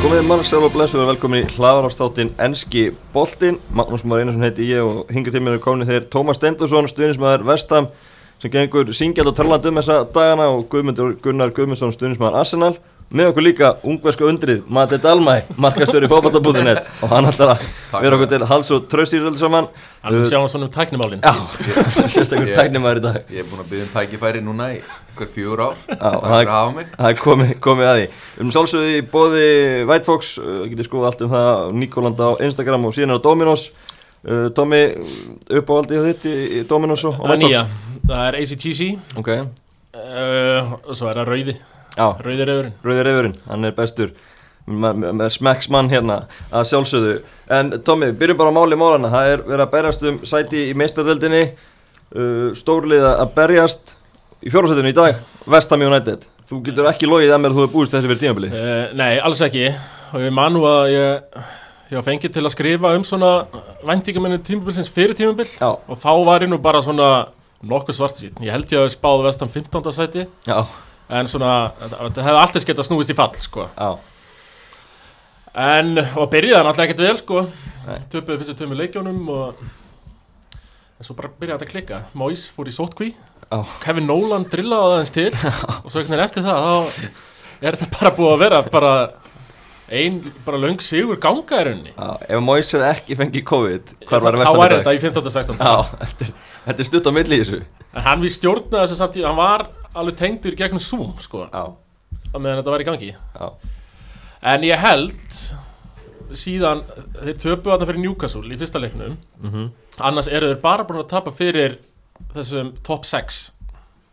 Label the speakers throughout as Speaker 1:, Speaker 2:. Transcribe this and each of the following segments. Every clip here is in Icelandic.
Speaker 1: Komið mannsæl og blessuð og velkomin í hlaðarafstáttin Enski Boltin Magnús Már Einarsson heiti ég og hingað til mér er komin þeir Tómas Stendursson, stuðnismæður Vestam sem gengur syngjald og talandi um þessa dagana og Guðmundur Gunnar Guðmundsson, stuðnismæður Arsenal með okkur líka ungverska undrið Matti Dalmæ, markastöri fókbaltabúðinett og hann ætlar að vera okkur til hals og tröst í þessu saman
Speaker 2: Alveg sjá hann svona um tæknimálin
Speaker 1: Já, sérstakur
Speaker 3: Ég-
Speaker 1: tæknimæður í dag
Speaker 3: Ég er búin að byggja um tækifæri núna í hver fjúr ár
Speaker 1: Já, og
Speaker 3: Takk
Speaker 1: það
Speaker 3: fyrir
Speaker 1: er-
Speaker 3: að hafa mig
Speaker 1: það er komið, komið að því Við erum sálsögði í bóði White Fox uh, Getið skoðað allt um það á Nikolanda á Instagram og síðan er á Dominos uh, Tommy, uppáhaldið þitt í, í Dominos og, og
Speaker 2: Það
Speaker 1: White
Speaker 2: er nýja,
Speaker 1: Fox
Speaker 2: það er ACTC
Speaker 1: Ok,
Speaker 2: uh, og svo er það rauði,
Speaker 1: já,
Speaker 2: rauði rauðurinn
Speaker 1: Rauði Reifurinn, hann er bestur Ma- ma- með smekksmann hérna að sjálfsögðu En Tommy, byrjum bara á máli málana Það er verið að berjast um sæti í meistardöldinni uh, Stórliða að berjast í fjórhásætinu í dag Vestam United Þú getur ekki logið að mér að þú hefur búist þessi fyrir tímabili
Speaker 2: uh, Nei, alls ekki og ég man nú að ég, ég var fengið til að skrifa um svona væntingamenni tímabilsins fyrir tímabil
Speaker 1: Já,
Speaker 2: og þá var ég nú bara svona nokkuð svart sín Ég held ég að spáði vestan 15. sæti
Speaker 1: já,
Speaker 2: en svona, þetta þetta hefði alltaf skeitt að snúist í fall sko.
Speaker 1: já
Speaker 2: en, og byrjaði náttúrulega ekkert vel sko. töpuði fyrstu tömu leikjónum og en svo bara byrjaði þetta að klikka Mois fór í sótkví
Speaker 1: Já.
Speaker 2: Kevin Nolan drillaði það aðeins til og svo einhvern veginn eftir það þá er þetta bara búið að vera bara ein, bara löng sigur ganga er unni
Speaker 1: Já, ef Moise hefði ekki fengið COVID, hvar var
Speaker 2: þá
Speaker 1: vestan í
Speaker 2: var þetta
Speaker 1: dag?
Speaker 2: í 15. 16.
Speaker 1: Já, þetta er, þetta er stutt á milli í þessu.
Speaker 2: en hann við stjórnaði þessu samtíð hann var alveg tengdur gegnum Zoom sko,
Speaker 1: Já,
Speaker 2: á meðan þetta var í gangi
Speaker 1: já,
Speaker 2: En ég held síðan þeir töpu þarna fyrir Newcastle í fyrsta leiknum
Speaker 1: Mhm.
Speaker 2: annars eru þeir bara búin að tapa fyrir þessum top 6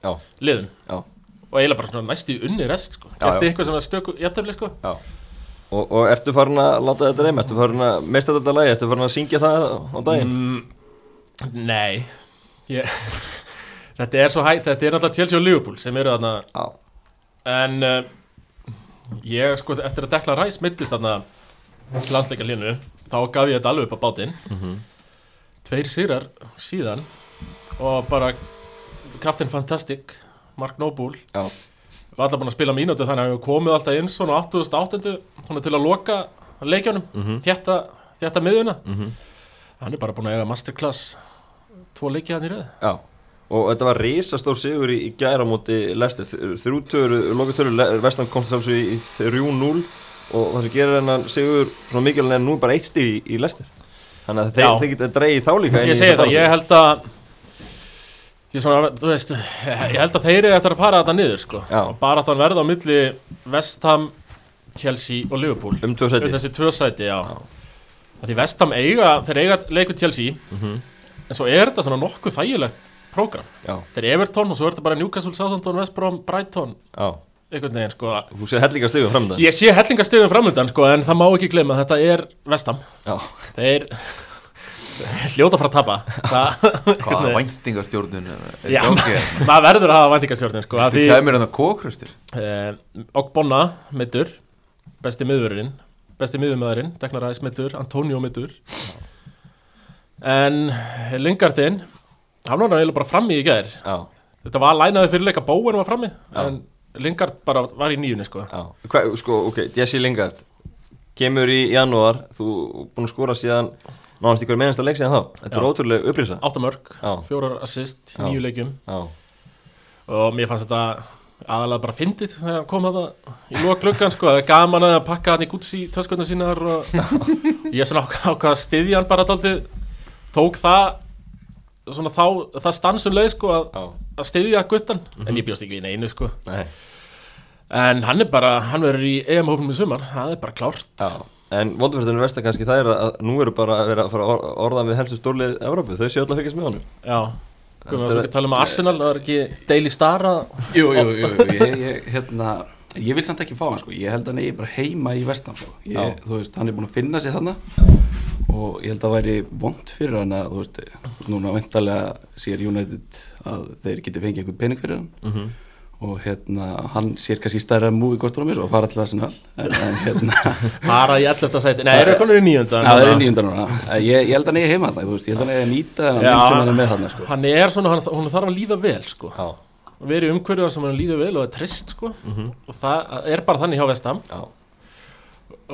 Speaker 1: já,
Speaker 2: liðum
Speaker 1: Já.
Speaker 2: og eiginlega bara svona næstu unni rest sko.
Speaker 1: Já,
Speaker 2: Gerti
Speaker 1: já.
Speaker 2: eitthvað svona stöku jættefli sko.
Speaker 1: já. Og, og ertu farin að láta þetta reyma? Ertu farin að mista þetta lagi? Ertu farin að syngja það á daginn?
Speaker 2: mm, Nei ég, Þetta er svo hægt þetta er náttúrulega Chelsea og Liverpool sem eru þarna
Speaker 1: Já,
Speaker 2: en uh, ég sko eftir að dekla ræs mittist þarna landsleika línu þá gaf ég þetta alveg upp á bátinn tveir sigrar síðan og bara Captain Fantastic, Mark Noble
Speaker 1: já,
Speaker 2: var alltaf búin að spila mínúti þannig að við komið alltaf inn svona 88. Svona til að loka leikjunum, þetta, þetta miðuna hann er bara búin að eiga masterclass tvo leikja hann í röð
Speaker 1: já. Og þetta var risastór sigur í, í gæra móti lestir. Þrjútöru, lokatöru, vestan komst þess að í 3-0 og það sem gerir hennan sigur svona mikilvæg en nú er bara eitt stig í, í lestir. Þannig að þeir,
Speaker 2: Já.
Speaker 1: þeir geta dreigið þá líka inn í
Speaker 2: Ég
Speaker 1: þessa
Speaker 2: segi það,
Speaker 1: baráttu.
Speaker 2: ég held að ég, svona, þú veist, ég held að þeir eru eftir að fara þetta niður sko.
Speaker 1: Já.
Speaker 2: og bara að hann verða á milli Vestham, Chelsea og Liverpool
Speaker 1: Um tvö
Speaker 2: um
Speaker 1: seti.
Speaker 2: þessi tvö sæti já. Af því Vestham eiga þeir eiga leikur Chelsea en svo er þetta svona nokkuð þægilegt prógram,
Speaker 1: Já,
Speaker 2: þetta er Everton og svo er þetta bara Newcastle, Southampton, West Brom, Brighton
Speaker 1: já.
Speaker 2: einhvern veginn sko
Speaker 1: Þú sé hellinga stigum framöndan.
Speaker 2: ég sé hellingastöðum framöndan sko en það má ekki gleyma að þetta er Vestham
Speaker 1: Já.
Speaker 2: þeir þeir hljóta frá að tapa það
Speaker 3: Hvaða væntingarstjórnun er er
Speaker 2: Já,
Speaker 3: í gangi hérna?
Speaker 2: maður verður að hafa væntingastjórnir sko, að
Speaker 3: Þú hérna
Speaker 2: því
Speaker 3: kemur hann að kókröstir
Speaker 2: eh, Ogbonna mittur, besti miðvörurinn besti miðvörurinn, Deklar Ræs mittur Antonio mittur en Lingardin hann var náttúrulega bara frammi í gær
Speaker 1: Já,
Speaker 2: þetta var lænaði fyrirleika Bóen var frammi
Speaker 1: Já.
Speaker 2: en Lingard bara var í nýjunni sko
Speaker 1: já. Hva, sko, ok, Jesse Lingard kemur í janúar, þú búin að skora síðan nánast í hverju mennasta leik síðan þá Þetta er
Speaker 2: Já.
Speaker 1: ótrúlega upprýsa
Speaker 2: áttamörk,
Speaker 1: Já.
Speaker 2: fjórar assist
Speaker 1: Já.
Speaker 2: í nýju leikjum
Speaker 1: Já,
Speaker 2: og mér fannst þetta aðalega bara fyndið þegar hann kom þetta í lóa klukkan sko, það er gaman að pakka hann í Gucci töskunna sínar og ég svona ákvað ákvað að styðja hann bara daldið tók það svona þá, það stansun leið sko að,
Speaker 1: já, Mhm.
Speaker 2: að styðja guttan, en ég bjóst ekki við neinu sko
Speaker 1: nei
Speaker 2: en hann er bara, hann verður í EM-hópnum í sumar, það er bara klárt
Speaker 1: já. En vondurfærstunum versta kannski það er að nú eru bara að vera að fara að or- orða við helstu stórlið Evrópu, þau séu alltaf fyrkist með honum
Speaker 2: já. Guðum
Speaker 1: Þetta
Speaker 2: við að
Speaker 1: er-
Speaker 2: ekki tala um Arsenal, það er ekki Daily Star að,
Speaker 4: Jú, jú, jú, jú ég, ég, hérna, ég vil samt ekki fá hann sko, ég held að hann eigi bara heima í vestan sko,
Speaker 1: Já.
Speaker 4: ég, þú veist, hann er búin að finna sér þarna og ég held að það væri vond fyrir hann að, þú veist, núna vendalega sér United að þeir geti fengið einhvern pening fyrir hann og hérna, hann sér kannski stærra múi kostunum eins og að fara til Arsenal en, en hérna,
Speaker 2: fara í 11. sæti nei, eru konur í nýjönda
Speaker 4: það er nýjöndan núna, En ég, ég held að hann eigi heima þarna, þú veist, ég held að hann eigi að nýta þennan mynd sem hann er með þarna sko.
Speaker 2: hann er svona, hann, hún þarf að líða vel sko
Speaker 1: Já,
Speaker 2: og verið umhverjuðar sem hann líður vel og er trist sko. og það er bara þannig hjá Vestam
Speaker 1: já,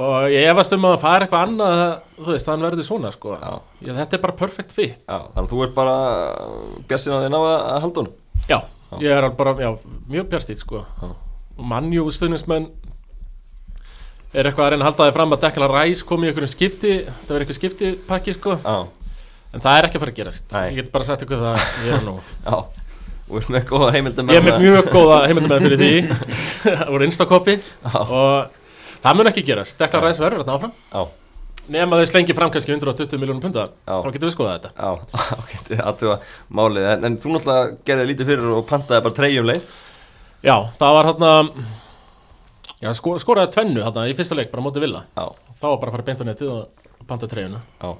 Speaker 2: og ég efast um að hann fari eitthvað annað þú veist, hann verður svona sko
Speaker 1: Já.
Speaker 2: ég, þetta er bara perfect fit
Speaker 1: Já, þannig að þú ert bara uh, bjarsin að þið ná að að halda honum
Speaker 2: já, ég er alveg bara, já, mjög bjartýtt sko
Speaker 1: Já.
Speaker 2: mannjú stuðnismenn er eitthvað að reyna að halda þið fram að Dekla Ræs kom í einhverjum skipti það var einhver skiptipakki sko
Speaker 1: Já,
Speaker 2: en það er ekki að fara að gerast
Speaker 1: Nei.
Speaker 2: ég get bara sagt ykkur það ég er nú
Speaker 1: já Þú ert með góða heimildum
Speaker 2: ég er með mjög góða heimildamenn fyrir því það voru instakopi og það mun ekki gerast Dekla Ræs verður þetta áfram
Speaker 1: Já,
Speaker 2: nema þau slengi fram kannski 120 miljónum punda
Speaker 1: Já.
Speaker 2: þá getum við skoðað þetta
Speaker 1: já, ok, þetta er aðtuga málið en, en þú náttúrulega gerði lítið fyrir og pantaði bara treyjum leið
Speaker 2: já, það var hérna já, sko, skoraði tvennu hérna í fyrsta leik bara mótið vilja
Speaker 1: Já,
Speaker 2: þá var bara að fara beint á netið og panta treyjuna
Speaker 1: já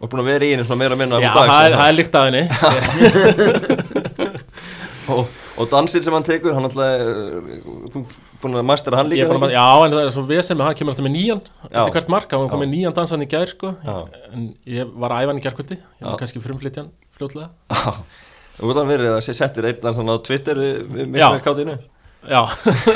Speaker 1: Og ert búin að vera í henni svona meira og minna
Speaker 2: já,
Speaker 1: allan dag,
Speaker 2: það er,
Speaker 1: svona.
Speaker 2: það er líkt að henni
Speaker 1: og, og dansinn sem hann tekur, hann náttúrulega eh, Þú búin að mastera hann
Speaker 2: Ég
Speaker 1: líka
Speaker 2: er
Speaker 1: ekki?
Speaker 2: bara með- já, en það er svo vesen með hann kemur alltaf með nýjan eftir
Speaker 1: Já.
Speaker 2: hvert mark, hann
Speaker 1: Já.
Speaker 2: kom með nýjan dansan í gær sko.
Speaker 1: Já.
Speaker 2: en ég var að æfa hann í gærkvöldi ég var
Speaker 1: Já.
Speaker 2: kannski frumflytjan fljótlega
Speaker 1: Já, þú veist hann verið að sé- settir einn dansan á Twitter við, við,
Speaker 2: Já.
Speaker 1: með kátinu
Speaker 2: já,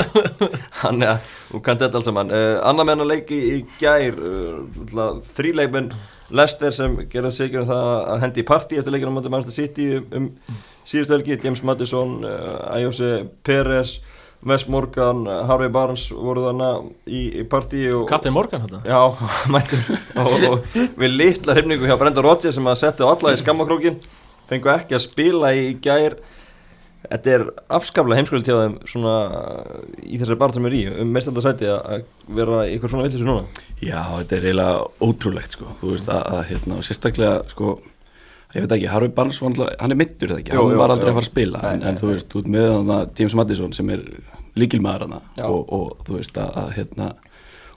Speaker 1: Þannig að þú kannt þetta alls saman uh, Anna menna leiki í gær uh, þríleikmenn Lester sem gerði sigur um það að hendi í partí eftir leikina á móti Manchester City um, um síðustu helgi, James Madison uh, Ayose Perez Wes Morgan, uh, Harvey Barnes voru þarna í, í partí og,
Speaker 2: Captain Morgan hérna
Speaker 1: Já, mættur og, og við litla hrifningu hjá Brenda Rodgers sem að setja alla í skammakrókin fengu ekki að spila í gær Þetta er afskaplega heimskvöld hjá þeim svona í þessari barn sem er í um mest alltaf sæti að að vera í eitthvað svona villisu núna
Speaker 4: Já, þetta er eiginlega ótrúlegt sko, þú veist að, að hérna, og sérstaklega sko, ég veit ekki, Harfi Barnes var alltaf, hann er mittur það ekki,
Speaker 1: Jú,
Speaker 4: hann
Speaker 1: jú,
Speaker 4: var
Speaker 1: jú.
Speaker 4: aldrei að fara að spila,
Speaker 1: Nei,
Speaker 4: en,
Speaker 1: nei,
Speaker 4: en þú veist, út með hann að James Madison sem er líkilmaður hann
Speaker 1: Já.
Speaker 4: og, og þú veist að, að hérna,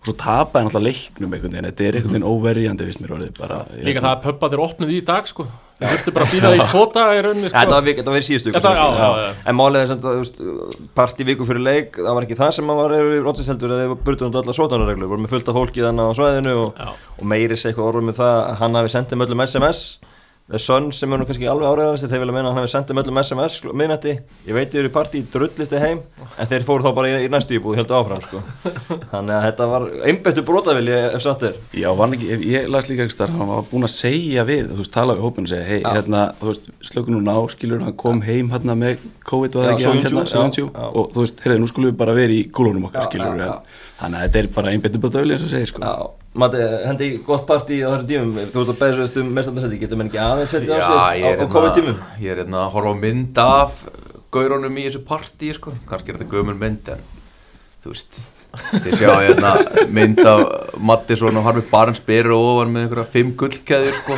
Speaker 4: og svo tapa hann alltaf leiknum einhvern veginn, þetta er einhvern veginn óverjandi, finnst mér orðið bara.
Speaker 2: Líka það að pöppa þér opnuð í dag sko Þú þurfti bara að býða í tvo daga í rauninni
Speaker 1: Þetta
Speaker 2: sko
Speaker 1: var, vik- þetta var verið síðustu sko.
Speaker 2: Þetta- já, já, já.
Speaker 1: En málið er sem þetta part í viku fyrir leik það var ekki það sem að var í Rodgers heldur að þeir burtu náttúrulega allar sótanarreglur voru með fullt af fólki þannig á svæðinu og,
Speaker 2: Já.
Speaker 1: og meiri sé eitthvað orðum með það að hann hafi sendið möllum SMS The Sun sem er nú kannski alveg áræðanast þeir vilja meina að hann hafi sendið möllum SMS kl- miðnætti ég veit þeir eru í partí drullisti heim en þeir fóru þá bara í, í næstu íbúð heldur áfram sko. þannig að þetta var einbættu brotavili ef satt er
Speaker 4: Já, var hann ekki, ef- ég las líka ekki starf, hann var búinn að segja við, þú veist, tala við hópinu og segja, hei, hérna, þú veist, slökun núna á, skilur, hann kom heim hérna með COVID og það
Speaker 1: Já,
Speaker 4: ekki, hann hérna,
Speaker 1: 70, já,
Speaker 4: 70,
Speaker 1: já.
Speaker 4: og þú veist, heyrðu, nú skulum við bara verið í gólunum okkar,
Speaker 1: Já,
Speaker 4: skilur,
Speaker 1: já, já.
Speaker 4: en þannig að þetta er bara einbettur bara döfli, eins og segir, sko.
Speaker 1: Já, Matti, hendi í gott partí á þessum tímum, þú ert að beðast um mestandarsæti, getur menn ekki aðeins setið á sig á, á komið tímum?
Speaker 3: ég er hérna að horfa á mynd af gaurunum í þessu partí sko. kannski er þetta gömul mynd en þú veist þið sjá hérna mynd af Mattisson og Harfi Barnes byrja ofan með einhverja fimm gullkeðjur sko.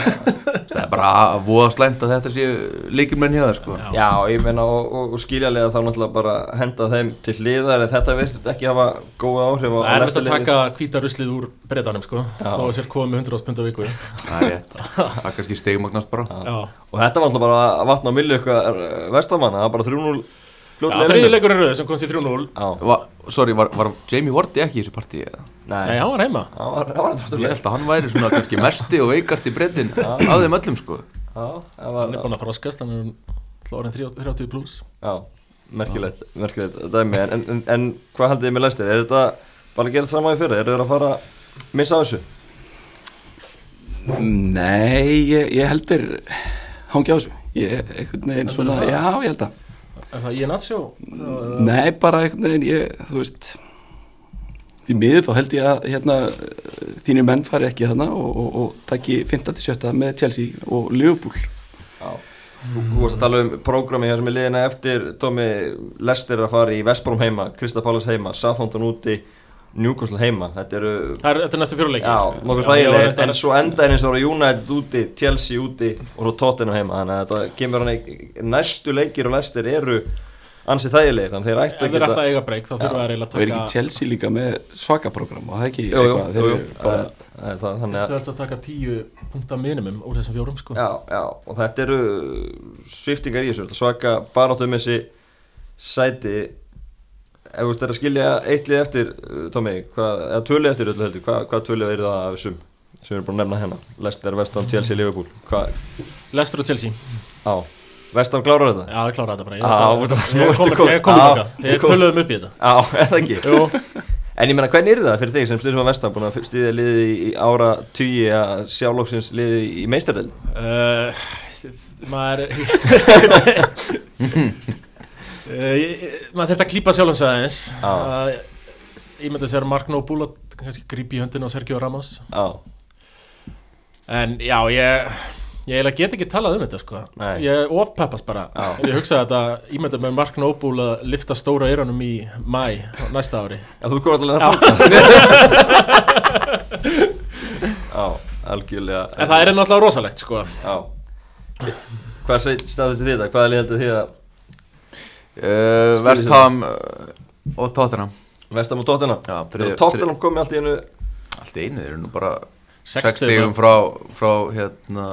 Speaker 3: það er bara voða slæmt að þetta séu líkilmenn hjá það sko.
Speaker 2: Já.
Speaker 1: Já, ég meina og, og, og skiljalega þá náttúrulega bara henda þeim til hliðar en þetta virðist ekki hafa góða áhrif á
Speaker 2: Það er
Speaker 1: næsta
Speaker 2: verið að
Speaker 1: liðið.
Speaker 2: taka hvíta ruslið úr breytanum sko Þá er sér komið með 100 pund á viku Já,
Speaker 3: það er rétt það kannski stegmagnast bara
Speaker 1: Og þetta var náttúrulega bara að vatna á milli eitthvað vestamanna, það var bara 3-0
Speaker 2: Já,
Speaker 1: fljótt
Speaker 2: þriði leikur er rauð sem komst í 3-0
Speaker 1: Já,
Speaker 3: Va, sorry, var, var Jamie Vorti ekki í þessu partí eða?
Speaker 1: nei,
Speaker 2: Nei, hann var heima
Speaker 1: það var það var
Speaker 3: ég
Speaker 1: náttúrulega,
Speaker 3: held að hann væri svona kannski mesti og veikasti breytin af þeim öllum sko.
Speaker 1: já, það
Speaker 2: Hann er
Speaker 1: var,
Speaker 2: búin að þroskast, hann er orðin 30 pluss
Speaker 1: já, merkilegt, merkilegt dæmi, en, en, en, en hvað haldið þið með læstir, er þetta bara að gera þetta saman í fyrir, er þetta að fara að missa af þessu?
Speaker 4: Mm, Nei, ég, ég heldur, hangi á þessu, ég, einhvern veginn, svona, já, ég held að,
Speaker 2: En það ég natsjó
Speaker 1: Mm.
Speaker 4: nei, bara einhvern veginn, ég, þú veist, því miður þá held ég að, hérna, þínir menn fari ekki þarna og, og, og taki 15-17 með Chelsea og Liverpool.
Speaker 1: Já. Þú þú varst að tala um prógrami hér sem er liðina eftir Tómi Lester er að fara í Vestbrom heima, Krista Pallas heima, Southampton úti Newcastle heima, þetta eru
Speaker 2: Það er, þetta er næstu fjóruleiki
Speaker 1: já, nokkuð þægilegir, en svo enda eins og United úti, Chelsea úti og svo Tottenham heima, þannig að þetta kemur hann í næstu leikir og Lester eru ansið þægilegir, þannig að þeir
Speaker 2: Ef
Speaker 1: ættu að
Speaker 2: þeir ætla
Speaker 1: geta
Speaker 2: að eiga breyk þá þurfa þeir eiginlega
Speaker 4: Og er
Speaker 2: að
Speaker 4: ekki
Speaker 2: taka
Speaker 4: Chelsea líka með svaka program og það er ekki
Speaker 1: Jú, jú,
Speaker 4: þeir
Speaker 1: jú,
Speaker 4: eru
Speaker 1: jú,
Speaker 4: bara,
Speaker 1: það- það er það, þannig að
Speaker 2: Þú ert að taka 10 punta minimum úr þessum fjórum sko
Speaker 1: Já, já, og þetta eru sviftingar í þessu, þetta er svaka baráttum þessi sæti ef þú ert að skilja eitt lið eftir uh, Tómi, hvað, eða tvölið eftir öllu heldur, hvað, hvað tvölið eru það af þessum sem við erum búin að nefna hérna, Lester, Vestam, Chelsea, Liverpool hvað,
Speaker 2: Lestur og Chelsea
Speaker 1: á, Vestam klárar þetta?
Speaker 2: Já, það kláraði þetta bara
Speaker 1: Já,
Speaker 2: Ég,
Speaker 1: þú-
Speaker 2: ég,
Speaker 1: þú
Speaker 2: ég,
Speaker 1: ert
Speaker 2: kom,
Speaker 1: kom-
Speaker 2: ég um kom
Speaker 1: Já,
Speaker 2: þangað
Speaker 1: þú
Speaker 2: Þeir
Speaker 1: kom-
Speaker 2: töluðum upp í þetta
Speaker 1: Já, er það ekki?
Speaker 2: Jú,
Speaker 1: En ég meina, hvernig er það fyrir þig sem stundum að vestam búin að stýðja liðið í- í ára tugi að sjálflóksins liðið í meistardel?
Speaker 2: Uh, maður uh, ég- maður þurft að klípa sjálfum sig aðeins
Speaker 1: Já.
Speaker 2: uh, ég myndi að segja Mark Noble og kannski grípi í höndin á Sergio Ramos
Speaker 1: Já,
Speaker 2: en já ég ég eiginlega get ekki talað um þetta sko
Speaker 1: Nei.
Speaker 2: ég ofpeppast bara
Speaker 1: Já.
Speaker 2: ég hugsaði þetta, ég myndi með Mark Noble að lifta stóra eyrunum í mæ næsta ári
Speaker 1: að þú komið allavega að fóta.
Speaker 3: Eh,
Speaker 1: Já, algjörlega.
Speaker 2: en það er náttúrulega rosalegt sko
Speaker 1: Já. Hvað staðist þið þetta? Hvaða lið heldur þið að
Speaker 3: uh,
Speaker 1: Skilur
Speaker 3: West Ham uh, og Tottenham
Speaker 1: vestam og Tottenham?
Speaker 3: Já,
Speaker 1: Þegar
Speaker 3: þrið-
Speaker 1: Tottenham komið allt í einu
Speaker 3: allt í einu, þeir eru nú bara
Speaker 2: Sex
Speaker 3: 6
Speaker 2: stigum.
Speaker 3: stegum frá, frá hérna,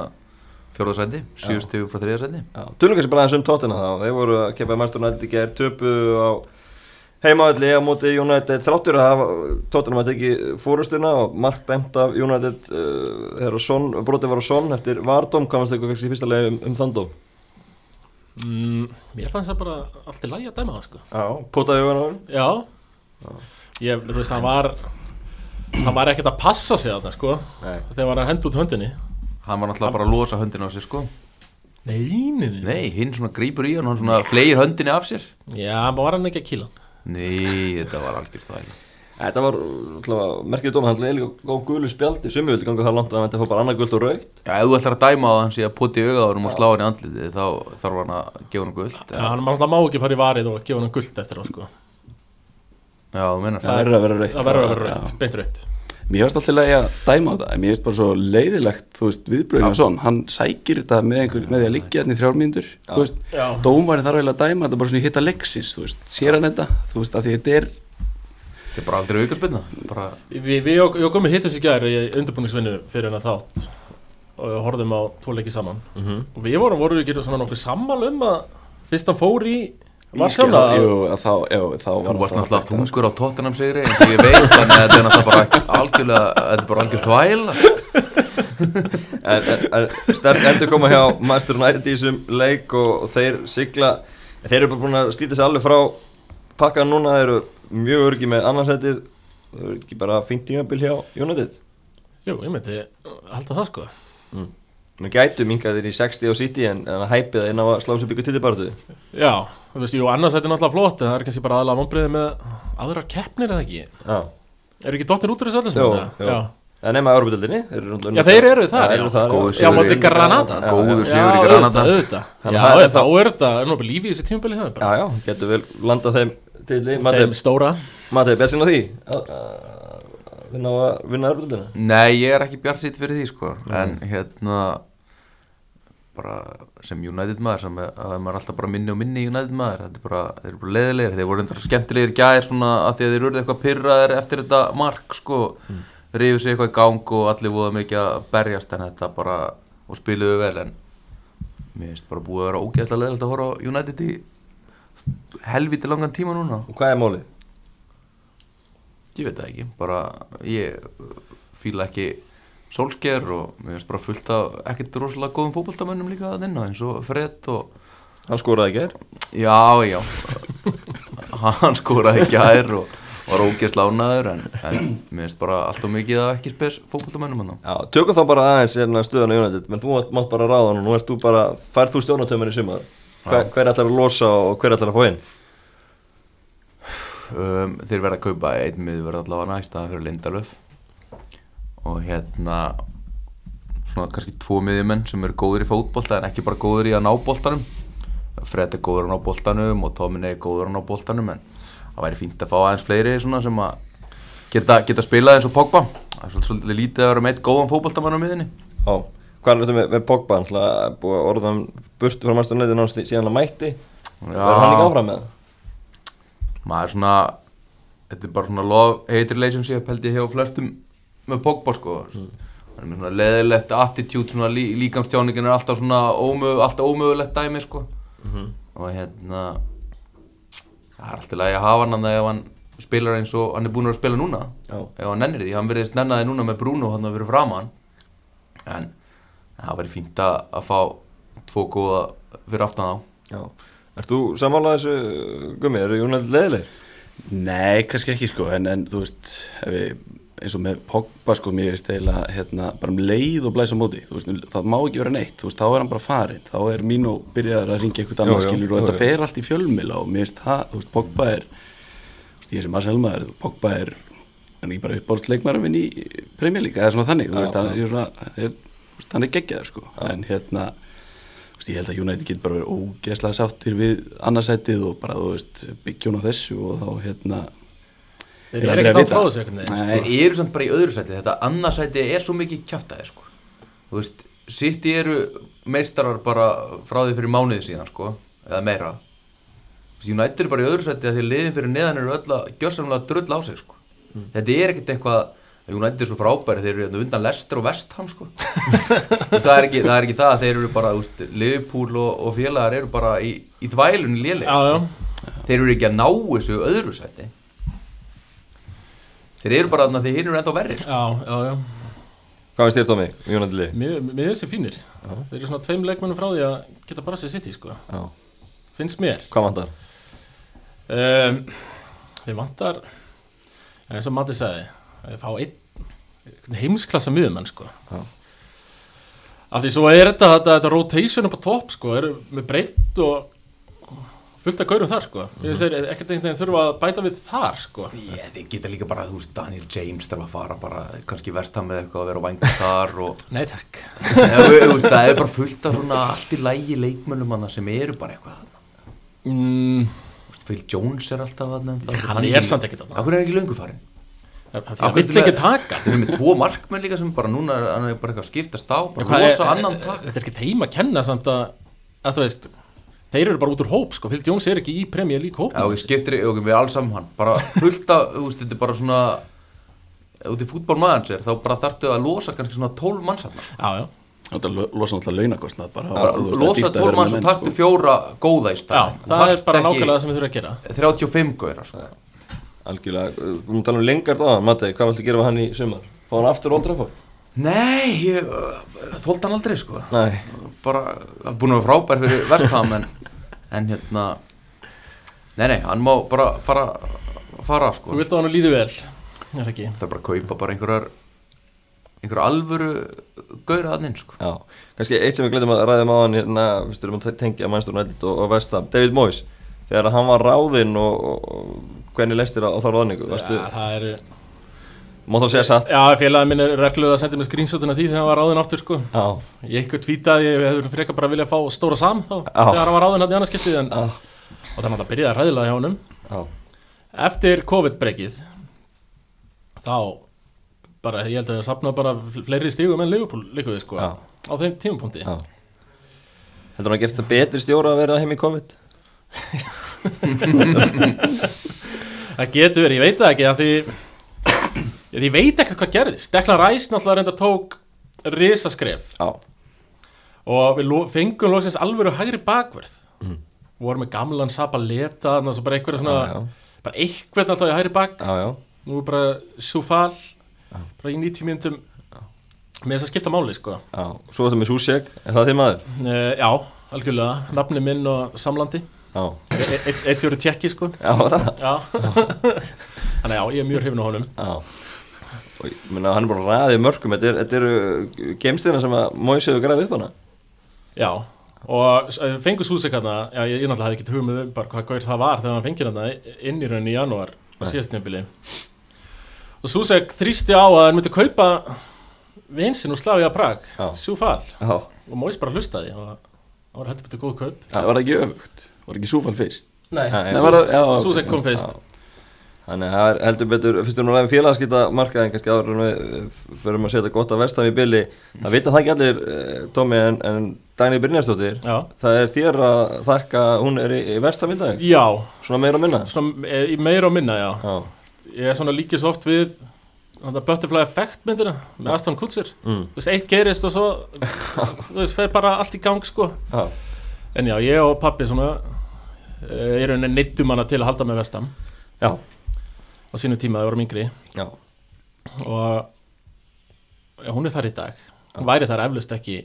Speaker 3: fjórðarsæti, 7 stegum frá þriðarsæti
Speaker 1: Tölum kannski bara aðeins um Tottenham þá Þeir voru að keppa í Manchester United í gerð töpu á heimavalli á móti United þráttur að hafa Tottenham að teki fórustuna og mark dæmt af United uh, þegar son, brotið var á son eftir Vardóm kannast eitthvað kannski í fyrsta leið um, um þann dóm
Speaker 2: mm, mér fannst það bara allt í lagi að dæma það sko
Speaker 1: Já, potaði hugan á hann
Speaker 2: Já Ég, þú veist, hann var hann var ekkert að passa sig þarna, sko
Speaker 1: Nei.
Speaker 2: þegar hann hendi út höndinni
Speaker 3: hann var náttúrulega bara að losa höndina á sér sko
Speaker 2: Nei, nei, nei
Speaker 3: nei, hinn svona grýpur í hann, hann svona fleir höndinni af sér
Speaker 2: Já, maður var hann ekki að kýla hann
Speaker 3: nei, þetta var algjörð það
Speaker 1: Þetta var merkjum dóma, hann leði á gulu spjaldi sumi vildi ganga það langt að hann ætti að fá bara annað gult og raukt
Speaker 3: Já, ef þú ætlar að dæma á hann síðan putti í augaðurum og slá hann í andlitið þá þarf hann að gefa hann guld
Speaker 2: Já, hann náttúrulega má ekki fara í varið og gefa hann guld eftir á, sko
Speaker 3: Já, þú meinar
Speaker 4: Það verður að vera rautt.
Speaker 2: Það verður að vera
Speaker 4: Já.
Speaker 2: rautt, beint rautt
Speaker 4: Mér finnst alltaf leiði að dæma á þetta en mér finnst bara svo leiðilegt, þú veist, viðbröðin og svona, hann sækir þetta með einhver, með því að liggja hann í þrjár mínútur, þú veist,
Speaker 2: Já.
Speaker 4: dómarinn þarf eiginlega að dæma þetta bara svona í hitta leksins, þú veist, sér hann þetta, þú veist, að því þetta er,
Speaker 3: Þetta er bara aldrei aukarspinna bara...
Speaker 2: Við, við og, og komum hittum sér gæri í undirbúningsvinnu fyrir hennar þátt og við horfðum á tvoleiki saman og við vorum, vorum við gerum svona nokkuð sammal um að fyrst hann fór í var svona
Speaker 4: jú, að þá, jú, þá
Speaker 3: Þú varst
Speaker 4: alltaf
Speaker 3: náttúrulega
Speaker 4: þetta, sko.
Speaker 3: þungur á Tottenham sigri eins og ég veit þannig að þetta er náttúrulega bara algjörlega þetta er bara algjör þvæl
Speaker 1: en, en, en sterk endur koma hjá Master United í þessum leik og, og þeir sigla þeir eru bara búin að slíta sig alveg frá pakkan núna, þeir eru mjög örgi með annarsætið, þeir eru ekki bara fínt tímabil hjá United
Speaker 2: Jú, ég myndi halda það, sko
Speaker 1: Nú gætu mingað þeir í 60 og City en, en að hæpið að inn á að slá sér byggja titibartu
Speaker 2: Já, þú veist, jú, annars þetta er náttúrulega flott en það er kannski bara aðalega vonbreiði með aðrar keppnir eða ekki
Speaker 1: Já,
Speaker 2: Er ekki dottir út úr þessu öllu sem
Speaker 1: Jó,
Speaker 2: hérna?
Speaker 1: jó. það nema Európa-dildinni
Speaker 2: Já, þeir eru
Speaker 1: Já,
Speaker 2: þar,
Speaker 1: þeir eru
Speaker 2: já.
Speaker 1: þar,
Speaker 3: Góður
Speaker 1: já.
Speaker 2: Já, móti
Speaker 3: í-
Speaker 2: Granada.
Speaker 3: Góður
Speaker 2: Já,
Speaker 3: sigur í
Speaker 2: auðvitað,
Speaker 3: Granada
Speaker 2: auðvitað.
Speaker 1: Þannig að það
Speaker 2: Já,
Speaker 1: er
Speaker 2: þá
Speaker 1: þá-
Speaker 2: er þetta, er nú bara lífi í þessu tímabili það er bara
Speaker 1: Já, já, getur vel landað þeim til því
Speaker 2: Þeim stóra
Speaker 1: Matei, bjart sinna því að- að- að vinna að vinna Európa-dildina
Speaker 3: Nei, ég er ekki bjart sýtt fyrir því sko en hérna bara sem United maður sem er, að maður er alltaf bara minni og minni United maður þetta er bara, þeir eru bara leðilegir þeir voru endur skemmtilegir í gær svona að því að þeir eru eitthvað pyrraðir eftir þetta mark sko mm. ríðu sig eitthvað í gang og allir voða mikið að berjast en þetta bara og spiluðu vel en mér finnst bara búið að vera ógeðslega leðilegt að horfa á United í helviti langan tíma núna
Speaker 1: Og hvað er málið?
Speaker 3: Ég veit það ekki, bara ég uh, fíla ekki sólsker og mér finnst bara fullt af ekkert rosalega góðum fótboltamönnum líka að nynna eins og Fred og
Speaker 1: Hann skoraði ekki þér
Speaker 3: já, já hann skoraði ekki aðeir og var ógeðslega lánaður en, en mér finnst bara alltaf mikið að ekki spes fótboltamönnum hann
Speaker 1: Já, tökum þá bara aðeins hérna stöðuna í United, menn þú mátt- mátt bara ráða hann og nú ert þú bara, færð þú stjórnatömmin í sumar hver, hver ætlar að losa og hver ætlar að fá inn
Speaker 3: um, þeir verða að kaupa einn miðverð allavega í staðan fyrir Lindalöf og hérna svona kannski tvo miðjumenn sem eru góðir í fótbolta en ekki bara góðir í að ná boltanum Fred er góður að ná boltanum og Tomin er góður að ná boltanum en það væri fínt að fá aðeins fleiri svona sem að geta, geta spilað eins og Pogba það er svolítið, svolítið lítið að vera með eitt góðan fótboltamann á miðinni
Speaker 1: Já, hvað er þetta með, með Pogba, hann ætla að búa orðan burtu frá Master United náttúrulega síðan hann mætti verður hann ekki áfram með það?
Speaker 3: maður svona þetta er bara svona love-hate relationship held ég hjá flestum með Pogba sko hann er með svona leðilegt attitude svona lí, líkamstjáningin er alltaf svona ómög, alltaf ómögulegt dæmi sko og hérna það er alltaf lægi að hafa hann þannig ef hann spilar eins og hann er búin að vera að spila núna
Speaker 1: Já.
Speaker 3: ef hann nennir því, hann verðist nennaði núna með Bruno hann að vera framan en það væri fínt að, að fá tvo góða fyrir aftan þá
Speaker 1: Já, ert þú samálað þessu gummi, eru United leðileg?
Speaker 4: Nei, kannski ekki sko, en, en þú veist, ef ég, eins og með Pogba sko, mér veist eiginlega, hérna, bara um leið og blæs á móti, þú veist, það má ekki vera neitt, þú veist, þá er hann bara farinn, þá er mín og byrjaðar að ringja eitthvað annað
Speaker 1: já,
Speaker 4: skilur og
Speaker 1: já,
Speaker 4: þetta
Speaker 1: já.
Speaker 4: fer allt í fjölmila og mér veist það, þú veist, Pogba er, þú veist, ég er sem Marcel maður, Pogba er, hann er ekki bara uppáhaldsleikmarum minn í premjálíka, eða svona þannig, þú veist, hann, ég er svona, ég, þú veist, hann er geggjaður sko, en hérna, Þú veist, ég held að United getur bara verið ógeðslega sáttir við annarsætið og bara, þú veist, byggjón á þessu og þá, hérna,
Speaker 2: Þeir
Speaker 4: Ég er
Speaker 2: eru
Speaker 4: aldrei að
Speaker 2: ekkert að
Speaker 4: vita.
Speaker 2: frá þessu einhvern veginn sko.
Speaker 4: Nei.
Speaker 3: Þeir eru samt bara í öðru sæti Þetta annarsæti er svo mikið kjáftæði sko. Þú veist, City eru meistarar bara frá því fyrir mánuði síðan sko, eða meira Þú veist, United eru bara í öðru sæti að því liðin fyrir neðan eru öll að gjössamlega drull á sig sko.
Speaker 2: Mm.
Speaker 3: Þetta er ekkert eitthvað að United er svo frábæri, þeir eru hérna undan Lester og Vestham sko. Þú veist, það, er ekki, það er ekki það, þeir eru bara, þú veist, Liverpool og, og félagar eru bara í, í sko. þvælun léleg
Speaker 2: Já, já
Speaker 3: þeir eru ekki að ná þessu öðru sæti þeir eru bara þarna því hinn eru enda verri sko.
Speaker 2: Já, já, já,
Speaker 1: Hvað veist þér Tómi, Jónandi Lið?
Speaker 2: mér mér finnst þessi fínir Þeir eru svona tveim leikmennum frá því að geta bara sér sitt í sko
Speaker 1: Já.
Speaker 2: Finnst mér
Speaker 1: Hvað vantar?
Speaker 2: um, Þeir vantar eins og Matti sagði að þeir fá einn einhvern heimsklassa miðumann sko
Speaker 1: Já.
Speaker 2: Af því svo er þetta, þetta, þetta rotation upp á topp sko, eru með breytt og fullt að gaurum þar sko Ég veist þeir ekkert einhvern veginn þurfa að bæta við þar sko
Speaker 3: yeah, þeir geta líka bara, þú veist, Daniel James þarf að fara bara, kannski versta með eitthvað að vera á vængu þar og
Speaker 2: Nei takk
Speaker 3: Eða, þú veist, það er bara fullt af svona allt í lægi leikmönnum hana sem eru bara eitthvað þarna
Speaker 2: mm,
Speaker 3: Þú veist, Phil Jones er alltaf þarna en það-
Speaker 2: Hann er samt ekkert þarna.
Speaker 3: Af hverju er hann ekki löngu farin
Speaker 2: Það það-
Speaker 3: Af
Speaker 2: það
Speaker 3: hverju
Speaker 2: vill ekki
Speaker 3: ertu með-
Speaker 2: taka
Speaker 3: þeir eru með tvo markmenn líka sem bara núna er- hann er bara eitthvað að skiptast á
Speaker 2: Já,
Speaker 3: bara
Speaker 2: hvað
Speaker 3: rosa
Speaker 2: er-
Speaker 3: annan takk
Speaker 2: Þetta er ekki heim að kenna samt að, að þú veist, þeir eru bara út úr hóp sko, Fyllt Jóns er ekki í Premier League hóp
Speaker 3: Já, ok, skiptir, ok, við alls saman hann bara fullt af, þú veist, þetta er bara svona út í fútbólmaðansir þá bara þarftu að losa kannski svona 12 manns hann
Speaker 2: já, já,
Speaker 4: Þetta lo- losa náttúrulega launakostnað bara, þú veist, það er
Speaker 3: losa
Speaker 4: dýrt að
Speaker 3: 12
Speaker 4: vera
Speaker 3: manns og
Speaker 4: með menn,
Speaker 3: taktu fjóra góða í
Speaker 2: já,
Speaker 3: stað
Speaker 2: það er bara nákvæmlega það sem við þurfum að gera
Speaker 3: 35 góðir sko.
Speaker 1: Algjörlega, uh, við erum að tala um lengard á hann, Matti, hvað viltu gera við hann í sumar? Fá hann aftur Old Trafford?
Speaker 3: Nei, ég uh, þólt hann aldrei sko.
Speaker 1: Nei,
Speaker 3: bara, hann er búin að vera frábær fyrir vestham en, en hérna nei, nei, hann má bara fara, fara sko.
Speaker 2: Þú vilt að hann líði vel, er það ekki
Speaker 3: það er bara að kaupa bara einhverjar einhverjar alvöru góðir að þinn sko.
Speaker 1: já, kannski eitt sem við gledum að ræðum á hann hérna, við styrum að te- tengja Manchester United og, og Vestam, David Moyes, þegar hann var ráðinn og, og- og hvernig leist þér á, á þá ráðningu, veistu,
Speaker 2: Já, það er,
Speaker 1: má það segja satt?
Speaker 2: já, félagin minn er reglulega að senda mér screenshotin af því þegar hann var ráðinn aftur sko
Speaker 1: Já,
Speaker 2: Ég eitthvað tvítaði, ég hefur frekar bara viljað fá stóra sam þá,
Speaker 1: Já.
Speaker 2: þegar hann var ráðinn hann í annarskiptið en,
Speaker 1: já,
Speaker 2: og það er náttúrulega byrjaði að ræðilega hjá honum
Speaker 1: já,
Speaker 2: Eftir COVID-brekkið þá bara, ég held að ég sapna bara fleiri stígum en Liverpool líkuði sko
Speaker 1: Já.
Speaker 2: á þeim tímapunkti
Speaker 1: já. Heldur hann að gera þetta betri stjóra að vera heim í COVID?
Speaker 2: Það getur verið, ég veit það ekki af því, ég, ég veit ekkert hvað gerðist Declan Rice náttúrulega reynda tók risaskref
Speaker 1: Já,
Speaker 2: og við lo, fengum loksins alvöru hægri bakverð vorum með gamlan Sapa Leta og svo bara einhverja svona
Speaker 1: Mm. Já, já.
Speaker 2: bara einhvern alltaf í hægri bak
Speaker 1: já, já,
Speaker 2: nú er bara Sufal bara í 90 myndum með þess að skipta máli sko
Speaker 1: já, svo þetta með Susek, er það þið maður?
Speaker 2: uh, Já, algjörlega, nafni minn og samlandi
Speaker 1: Já,
Speaker 2: E- einn- einn fjóri tjekki sko
Speaker 1: já, það,
Speaker 2: Já Þannig að já, ég er mjög hrifin á honum
Speaker 1: Já Og ég meina, hann er bara ræðið mörgum Þetta, er, þetta eru gemstina sem að Moise hefur grafið upp hana
Speaker 2: Já, og s- eh, fengu Susek hana, já, ég, ég náttúrulega hafði ekki hugmynd um bara hvað gaur það var þegar hann fengið hana i- inn í rauninni í janúar á síðastnefnbili og Susek þrýsti á að hann myndi kaupa vinsinn úr Slavia Prag
Speaker 1: Já.
Speaker 2: Sjúfal
Speaker 1: Já,
Speaker 2: og Móis bara hlustaði og það var heldur betur góð kaup
Speaker 4: sko. Það var ekki öfugt, var ekki súfall fyrst
Speaker 2: Nei,
Speaker 1: Já, já.
Speaker 4: Nei, var það- já, ok,
Speaker 2: Susek kom
Speaker 4: já.
Speaker 2: fyrst
Speaker 1: þannig að það er heldur betur Fyrst erum við ræðið félagskita markaðin kannski áður en við eh, förum að setja gott að vestam í billi Það vita það ekki allir, eh, Tommy en, en Dagný Brynjarsdóttir
Speaker 2: Já,
Speaker 1: Það er þér að þakka að hún er í, í vestam í dag
Speaker 2: já
Speaker 1: Svona meira og minna
Speaker 2: svona, eh, í meira og minna, já
Speaker 1: Já,
Speaker 2: Ég er svona líkið svo oft við Þetta butterfly effect myndina með Aston Kutcher
Speaker 1: Mm.
Speaker 2: Þú veist, eitt gerist og svo Þú veist, fer bara allt í gang sko
Speaker 1: já,
Speaker 2: En já, ég og pappi svona eh, Eru henni neittum hana til að halda með vestam
Speaker 1: já,
Speaker 2: Á sínu tíma það vorum yngri
Speaker 1: já,
Speaker 2: Og já, hún er þar í dag Hún væri þar eflust ekki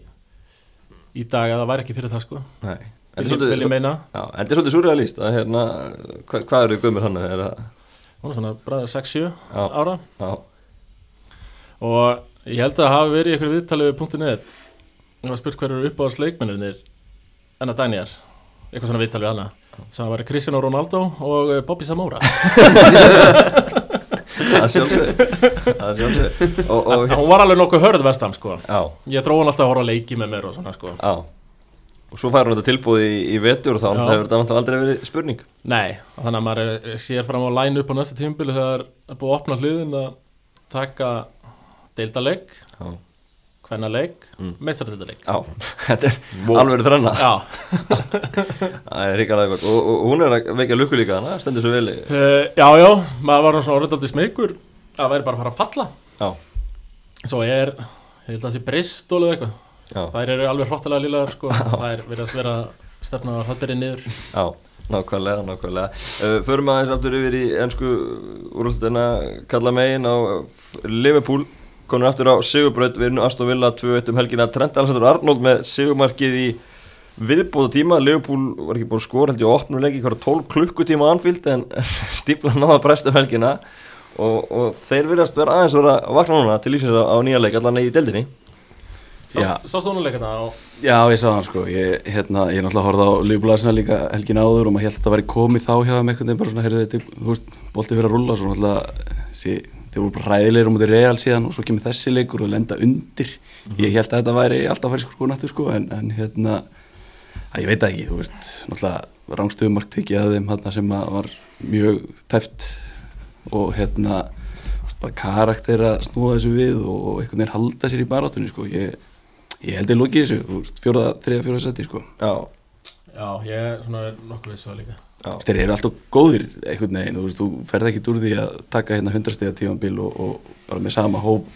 Speaker 2: Í dag að það væri ekki fyrir það sko
Speaker 1: nei Þetta er
Speaker 2: Vil ég- vil ég
Speaker 1: svolítið-
Speaker 2: meina
Speaker 1: Já, þetta er svolítið surrealist að hérna, hva, hvað eru gömur hann er að
Speaker 2: hún er svona bræðið 6-7
Speaker 1: Já.
Speaker 2: ára
Speaker 1: já,
Speaker 2: og ég held að það hafi verið í einhverju viðtalið við punktin net ég var spurt hverju eru uppáðs leikmennir en að Daniel eitthvað svona viðtalið við hana sem var Cristiano Ronaldo og eh, Bobby Samora
Speaker 1: það er sjálfsög það er sjálfsög og, og
Speaker 2: hún var alveg nokkuð hörð vestam sko
Speaker 1: já,
Speaker 2: ég dró hann alltaf að horfa á leiki með mér og svona sko
Speaker 1: já og svo fær hún þetta tilbúið í, í vetur og þá
Speaker 2: Já.
Speaker 1: náttúrulega hefur þetta náttúrulega aldrei verið spurning
Speaker 2: Nei, og þannig að maður er- sér fram á line upp á næsta tímbili þegar er búið að opna hliðin að taka deildaleik,
Speaker 1: já,
Speaker 2: hvernaleik, mm.
Speaker 1: Mm.
Speaker 2: meistaradeildaleik.
Speaker 1: já. þetta er alveg þranna
Speaker 2: Já,
Speaker 1: það er ríkalega gott og, og, og hún er að vekja lukku líka hana, stendur svo vel í-
Speaker 2: uh, já, já, maður var nú svona orðið aldrei smegur að væri bara að fara að falla.
Speaker 1: já,
Speaker 2: Svo er, ég held að það sé bristól eða eitthvað,
Speaker 1: já,
Speaker 2: þær eru alveg hróttalega lílegar sko, þær virðast vera stefna að hotbyrja niður.
Speaker 1: já nákvæmlega, nákvæmlega uh, förum aðeins aftur yfir í ennsku úrlustena kalla megin á eh, Liverpool konur aftur á Sigurbröð við erum Aston Villa 2-1 um helgina Trent Alexander Arnold með Sigurmarkið í viðbóta tíma, Liverpool var ekki búin að skora held ég á opnum leik í hverja 12 klukkutíma anfield en stíflan náða brest um helgina og, og þeir virðast vera aðeins vera að vakna núna til lífsins á, á nýja leik allan í deldinni
Speaker 4: Já.
Speaker 2: Sást þú hún að leika það og
Speaker 4: Já, ég sagði hann sko, ég, hérna, ég náttúrulega horfði á Ljúblasina líka helgin áður og maður held að þetta væri komið þá hjá þeim einhvern veginn bara svona, heyrðu þetta, þú veist, boltið fyrir að rúlla og svo náttúrulega, sí, þeir voru bara ræðilegir um út í real síðan og svo kemur þessi leikur og lenda undir, ég held að þetta væri alltaf að fara í skrúnattu sko, en, en hérna, að ég veit það ekki, þú veist, náttúrulega rángstöðumark tekið að þeim hérna sem að var mjög tæft og hérna, þú veist, bara karakter að snúa þessu við og, og einhvern veginn halda sér í baráttunni sko, ég, Ég held ég lokið þessu, þú veist, fjóraða, þriða, fjóraða seti, sko.
Speaker 1: Já,
Speaker 2: já, ég er svona nokkuð vissu það líka.
Speaker 1: Já.
Speaker 4: Þú veist, Þeir eru alltaf góðir einhvern veginn, þú veist, þú ferð ekki úr því að taka hérna 100 stiga tímanbíl og, og bara með sama hóp.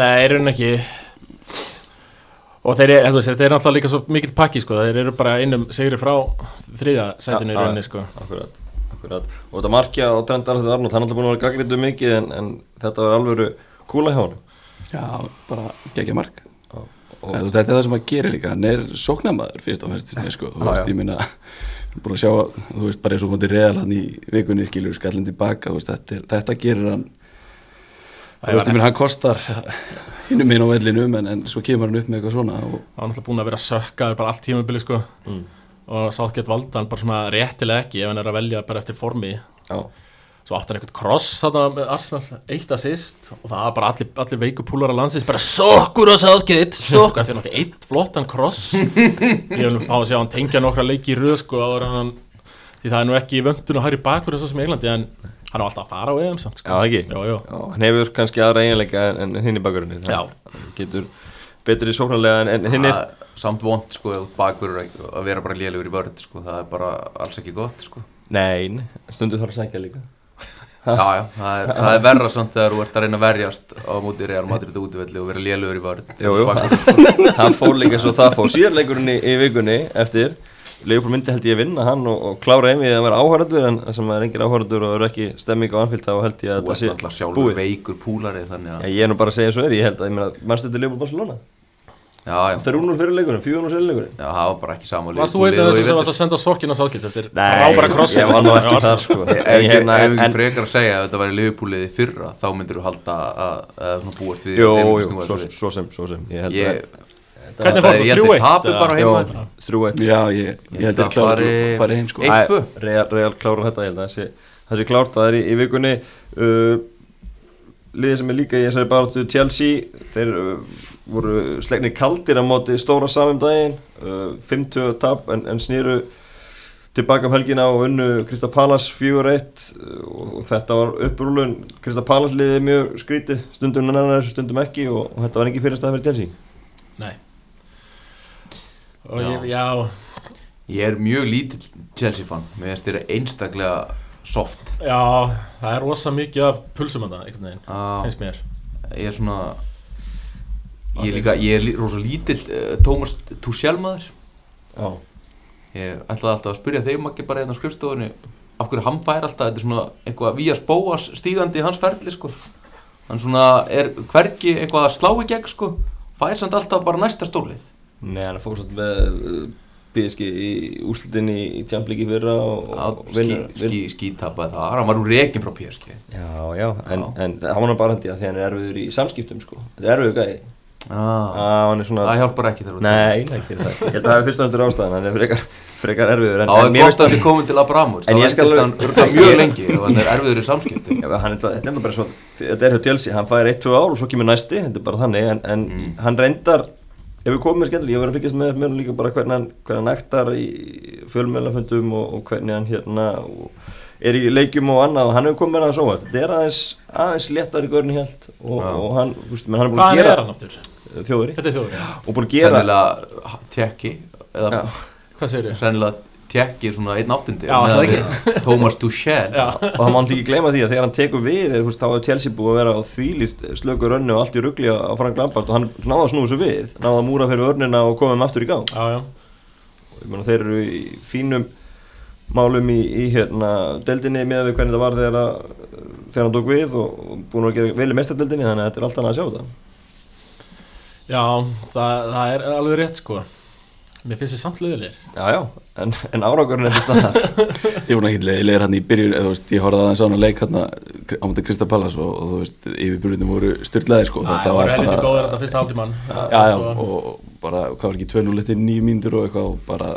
Speaker 2: Nei, í rauninni ekki Og þeir eru, þú veist, þetta er náttúrulega líka svo mikill pakki, sko Þeir eru bara einum sigri frá þriða
Speaker 1: Já,
Speaker 2: sætinu í
Speaker 1: já,
Speaker 2: rauninni, sko
Speaker 1: Akkurat, akkurat Og þetta markja á Trent Alexander Arnold, hann er alltaf búin að vera gaggrindu mikið en, en þetta var alvöru kúla hjá hann
Speaker 4: Já, bara gegja mark.
Speaker 1: og,
Speaker 4: Eða,
Speaker 1: og,
Speaker 4: þú veist, þetta er það sem hann gerir líka, hann er sóknamaður fyrst og fyrst, sko, þú
Speaker 1: Já,
Speaker 4: veist,
Speaker 1: já.
Speaker 4: ég minna, búin að sjá, þú veist, bara eins og mútið reðal hann í vikunni, skilur, skallin tilbaka, þú veist, þetta, er, þetta gerir hann, þú veist, ég minna, hann kostar hinnum minn á vellinum, en, en svo kemur hann upp með eitthvað svona og
Speaker 2: Það var náttúrulega búin að vera sökkaður bara allt tímabili, sko
Speaker 1: Mm.
Speaker 2: Og sátt gett valda hann bara svona réttilega ekki Ef hann er að velja bara eftir formi
Speaker 1: Já,
Speaker 2: Svo átti hann eitthvað kross þarna með Arsenal Eitt assist Og það var bara allir, allir veikupúlar að landsins Bara sokkur á sátt gett, sokkur Þegar hann átti eitt flottan kross Ég vil fá að sjá hann tengja nokkra leiki í röð, sko áður en hann, Því það er nú ekki í vöndun og hæri bakur Svo sem í Englandi, en hann á alltaf að fara á EM samt, sko.
Speaker 1: já ekki
Speaker 2: Jó, jó.
Speaker 1: Já, hann hefur kannski aðra eiginleika en, en hinn í bakgrunni
Speaker 2: Já.
Speaker 1: Getur betur í sóknarlega en, en hinn er
Speaker 3: Það er samt vond sko ef þú ert bakvörður að að vera bara lélugur í vörð sko, það er bara alls ekki gott sko
Speaker 1: Nein, stundu þarf að sækja líka
Speaker 3: já, já, það, er, það er verra samt þegar þú ert að reyna að verjast á móti Real Madrid útvelli og vera lélugur í vörð
Speaker 1: Jú, jú.
Speaker 3: Bakvörður, sko.
Speaker 1: Það fór líka svo það fór síðar leikurinn í, í vikunni eftir Leifur myndi held ég að vinna hann og, og klára einvið að vera áhörður en það sem það er engir áhörður og eru ekki stemming á anfylg þá held ég að
Speaker 3: þú
Speaker 1: þetta
Speaker 3: ert náttúrulega
Speaker 1: sé
Speaker 3: sjálfur
Speaker 1: búið
Speaker 3: veikur púlari þannig
Speaker 1: Já,
Speaker 3: að,
Speaker 1: ég er nú bara að segja svo er, ég held að, ég meina, mannstu þetta Leopold Barcelona?
Speaker 3: já, já, já,
Speaker 1: Þrúnur fyrir leikurinn, fjúðunur fyrir leikurinn?
Speaker 3: það var bara ekki saman
Speaker 2: Varst þú einn af þessum sem varst að senda sokkinn á sáðkilt eftir rábara krossin?
Speaker 1: ég var nú ekki þar sko
Speaker 3: Ef ekki,
Speaker 1: hérna,
Speaker 3: ef ekki
Speaker 1: en-
Speaker 3: frekar að segja að þetta væri liðbúliði fyrra þá myndir þú halda að, að svona búast við
Speaker 1: Jú,
Speaker 3: þeir myndu
Speaker 1: jú,
Speaker 3: snúa
Speaker 1: svo,
Speaker 3: þessu við.
Speaker 1: svo sem, svo sem, ég held
Speaker 3: Ég,
Speaker 2: Hvernig fór
Speaker 3: ég held
Speaker 2: þú?
Speaker 3: að tapi bara
Speaker 1: að Jú,
Speaker 3: heima hérna.
Speaker 1: þrjú eitt
Speaker 4: já, ég, ég held að klára fari heim, sko.
Speaker 3: Eitt, tvö.
Speaker 1: Real, Real klára þetta, ég held að það sé, það sé klárt það er í, í vikunni uh, Liðið sem er líka í þessari baráttu Chelsea, þeir uh, voru slegnir kaldir á móti stóra samum daginn uh, 50 tap en, en snýru tilbaka um helgina og unnu Krista Palas 4-1 uh, og þetta var upprúlun Krista Palas liðið mjög skrítið stundum nannar þessu stundum ekki og, og þetta var ekki fyrirstað fyrir Chelsea
Speaker 2: Nei Og ég, já,
Speaker 3: Ég er mjög lítill Chelsea fan Mér finnst þeirra einstaklega soft
Speaker 2: já, það er rosa mikið af pulsum þetta, einhvern veginn,
Speaker 3: ah,
Speaker 2: finnst mér
Speaker 3: Ég er svona Ég er líka, ég er lí- rosa lítill uh, Tómas Tuchel maður
Speaker 1: Já,
Speaker 3: Ég ætlaði alltaf að spyrja þeim ekki bara hérna á skrifstofunni Af hverju hann fær alltaf, þetta er svona eitthvað Vías Bóas stígandi í hans ferli sko Hann svona er hvergi eitthvað að slá í gegn sko Fær samt alltaf bara næsta stólið
Speaker 1: nei hann er fórsett með uh, PSG í úslutinni í tjampleiki fyrra og, og vinnur-
Speaker 3: skí, skítapa það, hann var úr rekin frá PSG
Speaker 1: Já, já, en,
Speaker 3: Já.
Speaker 1: en það var hann bara haldið að því hann er erfiður í samskiptum sko Þetta er erfiður gæði Já,
Speaker 3: ah,
Speaker 1: hann er svona
Speaker 3: það hjálpar ekki þegar
Speaker 1: Nei, nei, ekki það Ég held að það er fyrst og næstur ástæðan, hann er frekar, frekar erfiður
Speaker 3: á að gott að þið komið til Abramovits
Speaker 1: En
Speaker 3: þá
Speaker 1: ég skal
Speaker 3: endist hann
Speaker 1: alveg-
Speaker 3: örgla mjög lengi og hann er erfiður í samskipti
Speaker 1: Já, hann, er það- þetta er bara svo, þetta er hjá Chelsea, hann fær 1-2 ár og svo kemur næsti, þetta er bara þannig, en, en
Speaker 2: Mm.
Speaker 1: hann reyndar, ef við komum með skemmtilega, ég var að fylgjast með mér líka bara hvernig hann, hvernig hann ektar í fjölmjölafundum og, og hvernig hann hérna og er í leikjum og annað og hann hefur komið með hann svo, þetta er aðeins, aðeins léttar í görni held og,
Speaker 3: Já.
Speaker 1: og hann, þú veist, menn hann er búin
Speaker 2: Hvað
Speaker 1: að
Speaker 2: er hann
Speaker 1: gera
Speaker 2: áttur?
Speaker 1: þjóðri
Speaker 2: Þetta er þjóðurinn.
Speaker 1: og búin að gera,
Speaker 3: sennilega tjekki eða
Speaker 1: Já.
Speaker 2: Hvað segir ég?
Speaker 3: sennilega tjekki svona einn áttundi
Speaker 2: Já, það ekki.
Speaker 3: Thomas Duchel
Speaker 2: Já.
Speaker 1: og það má hann ekki gleyma því að þegar hann tekur við, þú veist, þá hefur Chelsea búið að vera á þvílíkt slöku rönnu og allt í ruggli á Frank Lampard og hann náða að snúa þessu við, náða að múra fyrir örnina og koma um aftur í gang.
Speaker 2: Já, já.
Speaker 1: Ég meina þeir eru í fínum málum í, í hérna deldinni með við hvernig það var þegar, að, þegar hann tók við og og búin að gera vel í mestardeldinni þannig að þetta er allt annað að sjá það.
Speaker 2: Já, það, það er alveg rétt sko. Mér finnst þið samt leiðilegir.
Speaker 1: Já, já, en, en áragurinn er til staðar.
Speaker 4: Ég voru ekki leiðir hann í byrjun eða, þú veist, ég horfði aðeins á hann að leik hann á mútið Krista Pallas og, og þú veist yfirbyrjunum voru styrlaði sko
Speaker 2: Það var helviti góður þetta fyrsta haldimann.
Speaker 4: já, já, og bara hvað var ekki 2-0 eftir 9 mínútur og eitthvað og bara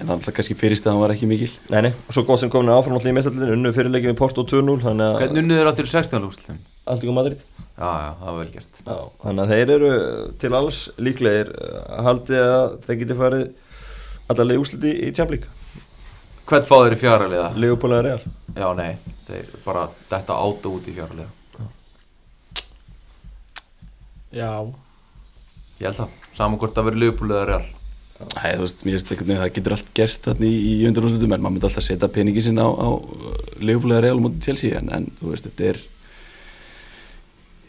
Speaker 4: en það alltaf kannski fyrirstæðan var ekki mikil
Speaker 1: Nei, nei, og svo gott sem komin áfram alltaf í mestardeldinni, unnu fyrirleikin við Porto 2-0, þannig að
Speaker 3: hvernig unnið er áttur í 16 lústlum
Speaker 1: allt í góð Madrid.
Speaker 3: já, já, það var vel gert
Speaker 1: Já, þannig að þeir eru til alls líklegir eh, að haldi að þeir geti farið allarlega úsliti í Champions League
Speaker 3: hvern fá þeir í fjáraliða?
Speaker 1: Leopold eða Real
Speaker 3: já, nei, þeir bara detta átta út í fjáraliða
Speaker 2: Já,
Speaker 3: ég held það, saman hvort það verið Liverpool eða Real
Speaker 4: Æ, þú veist, mér veist einhvern veginn að það getur allt gerst þannig í, í undanúslutum en maður myndi alltaf setja peningi sinna á, á leifbúlega real mútið Chelsea en, en þú veist, þetta er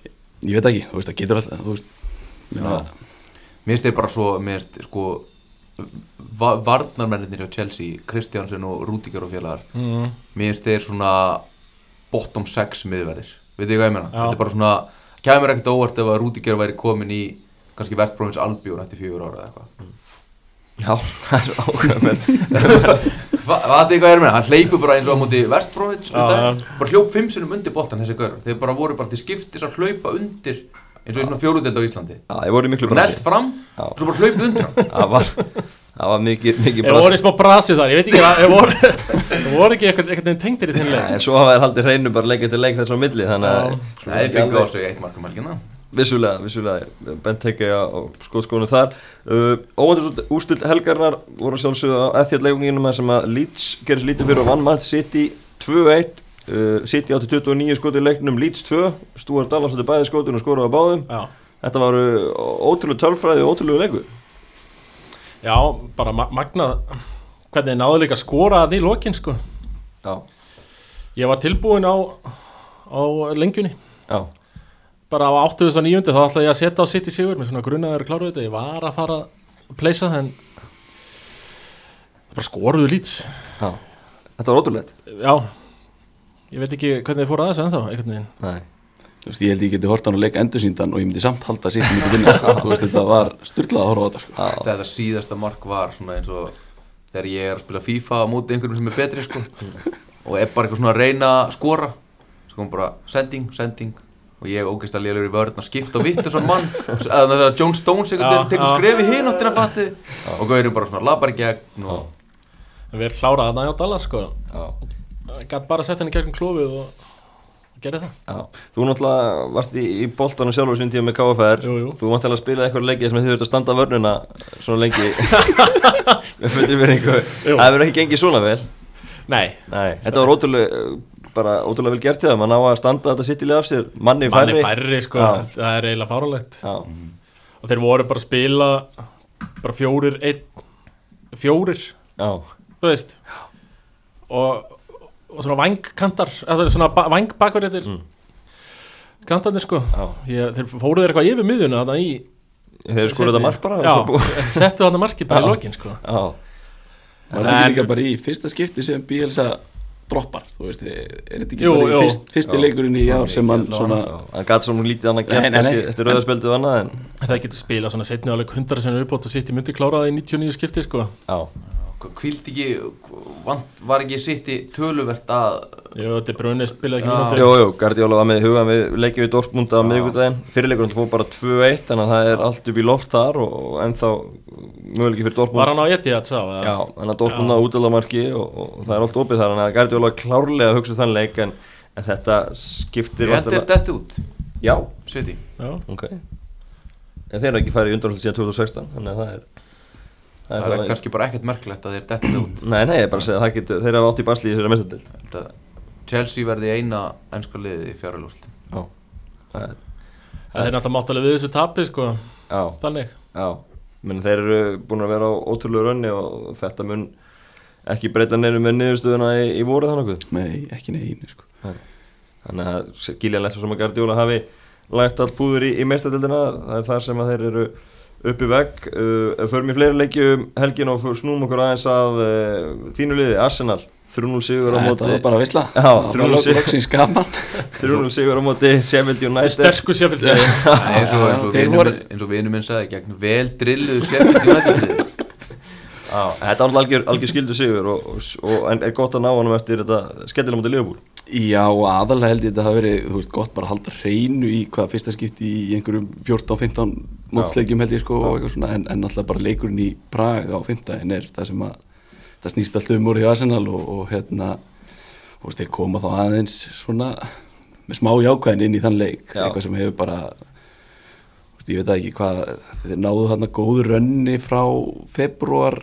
Speaker 4: ég veit ekki, þú veist, það getur alltaf þú veist, ja.
Speaker 3: Mér finnst þeir bara svo, mér finnst sko va varnarmennir hjá Chelsea, Kristjánsen og Rúdíkar og félagar
Speaker 2: mm,
Speaker 3: Mér finnst þeir svona bottom 6 miðverðir, veit þið hvað ég meina?
Speaker 2: Já.
Speaker 3: Þetta er bara svona, kæmur ekkert á óvart ef að Rúdíkar væri komin í kannski Vertbrófins Albjón eftir fjögur ára eða
Speaker 2: Mm.
Speaker 3: eitthvað
Speaker 1: Já, það er svo ákveð menn
Speaker 3: Fa- Fatið þið hvað ég er að meina? Hann hleypur bara eins og á móti Vertbrófins
Speaker 2: Já,
Speaker 3: bara hljóp fimm sinnum undir boltan þessi gaur þeir bara voru bara til skiptis að hlaupa undir eins og í svona fjóruðeld á Íslandi
Speaker 1: Já, ég voru í miklu
Speaker 3: Nelt
Speaker 1: brasi
Speaker 3: fram,
Speaker 1: Já.
Speaker 3: svo bara hlaupið undir hann
Speaker 1: Það var, það var mikið, mikið
Speaker 2: ég voru
Speaker 1: brasi
Speaker 2: í smá brasi þar, ég veit ekki að, ég voru, ég voru ekki eitthvað, eitthvað tengtir í þinn leik.
Speaker 1: En svo hafa þær haldið hreinu bara leik eftir leik þess á milli þannig að
Speaker 2: Já.
Speaker 1: Svo
Speaker 3: Nei,
Speaker 1: ekki
Speaker 3: þeir fengu á
Speaker 1: alveg-
Speaker 3: sig eitt markum helgina
Speaker 1: Vissulega, vissulega, bent ekki á skótskónu þar uh, Óvendur ústild helgarnar voru sjálfsögðu á eðþjáttleikunginum sem að Leeds gerist lítið fyrir og vann mann City 2-1 uh, City átti 29 skotið í leiknum Leeds 2 Stúar Dallas átti bæði skotin og skoraði á báðum
Speaker 2: Já,
Speaker 1: Þetta varu ótrúlega tölfræði og ótrúlega leikur
Speaker 2: já, bara ma magna, hvernig þið náðu líka að skora það í lokin sko.
Speaker 1: Já,
Speaker 2: Ég var tilbúin á, á lengjunni.
Speaker 1: já,
Speaker 2: bara á 89. þá ætlaði ég að setja á City sigur með svona grunnaður kláru þetta, ég var að fara að pleysa en bara skoruðu lít
Speaker 1: já Þetta var ótrúlega
Speaker 2: já, ég veit ekki hvernig þið fóru að þessu ennþá einhvern veginn,
Speaker 1: Nei,
Speaker 4: þú veist, ég held ég geti hort hann að leika endursýndan og ég myndi samt halda sér mikið vinna, sko. þú veist, þetta var styrlað að horfa á þetta, sko
Speaker 1: já,
Speaker 3: Þetta síðasta mark var svona eins og þegar ég er að spila FIFA á móti einhverjum sem er betri sko og er bara eitthvað svona að reyna að skora svo kom bara sending, sending og ég ógeist að lélegur í vörðin að skipta og vitt þessum mann að það er að John Stones einhvern veginn
Speaker 2: Já,
Speaker 3: tekur
Speaker 2: já.
Speaker 3: skrefi hinn áttir að fatti og gauðurinn bara svona lapar í gegn og
Speaker 2: en við erum klárað að næja á Dallas sko,
Speaker 1: já
Speaker 2: gæt bara að setja henni gegnum klófið og gerði það
Speaker 1: Já, þú náttúrulega varst í, í boltanum sjálfur sín tíma með KFR
Speaker 2: Jú, jú.
Speaker 1: Þú mátti alveg að spila eitthvað leikið sem þið verður að standa vörnuna svona lengi með fullri veringu
Speaker 2: Jú.
Speaker 1: Það verður ekki gengið svona vel
Speaker 2: nei,
Speaker 1: Nei, þetta var ótrúlega bara ótrúlega vel gert hjá það, maður ná að standa þetta sittilega af sér, manni í
Speaker 2: manni
Speaker 1: færri
Speaker 2: færri sko,
Speaker 1: Já.
Speaker 2: það er eiginlega fáralegt
Speaker 1: Já,
Speaker 2: og þeir voru bara að spila bara fjórir, einn fjórir,
Speaker 1: já,
Speaker 2: þú veist og, og svona vangkantar eða það er svona ba vangbakverðir mm. kantarnir sko
Speaker 1: já
Speaker 2: ég, þeir fóruðu þeir eitthvað yfir miðjuna þarna í
Speaker 1: Þeir eru skoruð þetta mark bara og svo
Speaker 2: já,
Speaker 1: búið.
Speaker 2: settu þarna marki bara
Speaker 1: Já.
Speaker 2: í lokin sko
Speaker 1: Já,
Speaker 4: var þetta
Speaker 2: En-
Speaker 4: líka bara í fyrsta skipti sem Bielsa droppar þú veist, er þetta ekki
Speaker 2: Jú,
Speaker 4: bara
Speaker 2: jú.
Speaker 4: í fyrst, fyrsti leikurinn í ár sem hann svona
Speaker 1: hann gæti svona lítið annað
Speaker 4: Nei,
Speaker 1: gert
Speaker 4: nei,
Speaker 1: kannski
Speaker 4: nei.
Speaker 1: eftir rauðarspjöldu og annað en
Speaker 2: Það getur spilað svona setni áleik hundra sem er uppátt og sitt í myndi klára það í 99 skipti sko
Speaker 1: já,
Speaker 3: Kvild ekki, vant, var ekki sitt í töluvert að
Speaker 2: Jú, þetta er brunni spilað
Speaker 3: Já.
Speaker 2: ekki
Speaker 1: jú, jú, Gardiola var með í huga við leikjum við Dortmund á miðvikudaginn fyrirleikurinn fór bara 2-1 þannig að það er allt upp í loft þar og, og ennþá möguleiki fyrir Dortmund
Speaker 2: Var hann á Etihad sá? eða?
Speaker 1: Já, þannig að Dortmund náðu útilamarki og, og það er allt opið þar, þannig að Guardiola klárlega hugsa þann leik en, en þetta skiptir
Speaker 3: Ég held
Speaker 1: væntanlega-
Speaker 3: er dett út,
Speaker 1: Já,
Speaker 3: City
Speaker 2: Já.
Speaker 1: ok En þeir eru ekki farið í undanhaldi síðan 2016 þannig að það er
Speaker 3: Það er kannski bara ekkert merkilegt að þeir dettu út
Speaker 1: Nei, nei, ég er bara að segja að það getur, þeir hafa átt í basli í þessari mestadild
Speaker 3: Ég held að Chelsea verði eina ennska liðið í fjáralúst
Speaker 1: Já, það er-
Speaker 2: Það er náttúrulega máttalega við þessu tapi sko
Speaker 1: já,
Speaker 2: Þannig
Speaker 1: já Men þeir eru búin að vera á ótrúlegu raunni og þetta mun ekki breyta neinu með niðurstöðuna í, í voru þannig okkur
Speaker 4: nei, ekki neina sko.
Speaker 1: þannig að giljanlegt svo sem að Gardiola hafi lagt allt púður í, í meistadildina það er þar sem að þeir eru upp í vegg uh, förum í fleiri leiki um helgin og snúm okkur aðeins að uh, þínu liði, Arsenal 3-0 sigur á
Speaker 4: þetta
Speaker 1: móti
Speaker 4: var bara veisla
Speaker 1: Já,
Speaker 4: Það var
Speaker 1: þrjú
Speaker 4: bara
Speaker 1: sigur.
Speaker 4: loksins gaman
Speaker 1: 3-0 sigur á móti Sheffield United
Speaker 2: Sterku séfildi Já,
Speaker 3: eins og,
Speaker 4: já,
Speaker 3: eins og,
Speaker 4: þeir
Speaker 3: vinur
Speaker 4: voru-
Speaker 3: minn- eins og vinur minn sagði gegn vel drilluðu Sheffield United liði.
Speaker 1: á, þetta var algjör, algjör skildu sigur og, og, og, en er gott að ná honum eftir þetta skemmtilega móti Leopold
Speaker 4: Já, og aðalega held ég þetta hafi verið, þú veist, gott bara að halda hreinu í hvaða fyrsta skipti í einhverjum 14-15 mótsleikjum held ég sko og eitthvað svona en, en alltaf bara leikurinn í Praga á 15 er það sem að það snýst alltaf um úr hjá Arsenal og, og hérna, þú veist, þeir koma þá aðeins svona með smá jákvæðin inn í þann leik,
Speaker 1: Já.
Speaker 4: eitthvað sem hefur bara, þú veist, ég veit það ekki hvað, þeir náðu þarna góðu rönni frá februar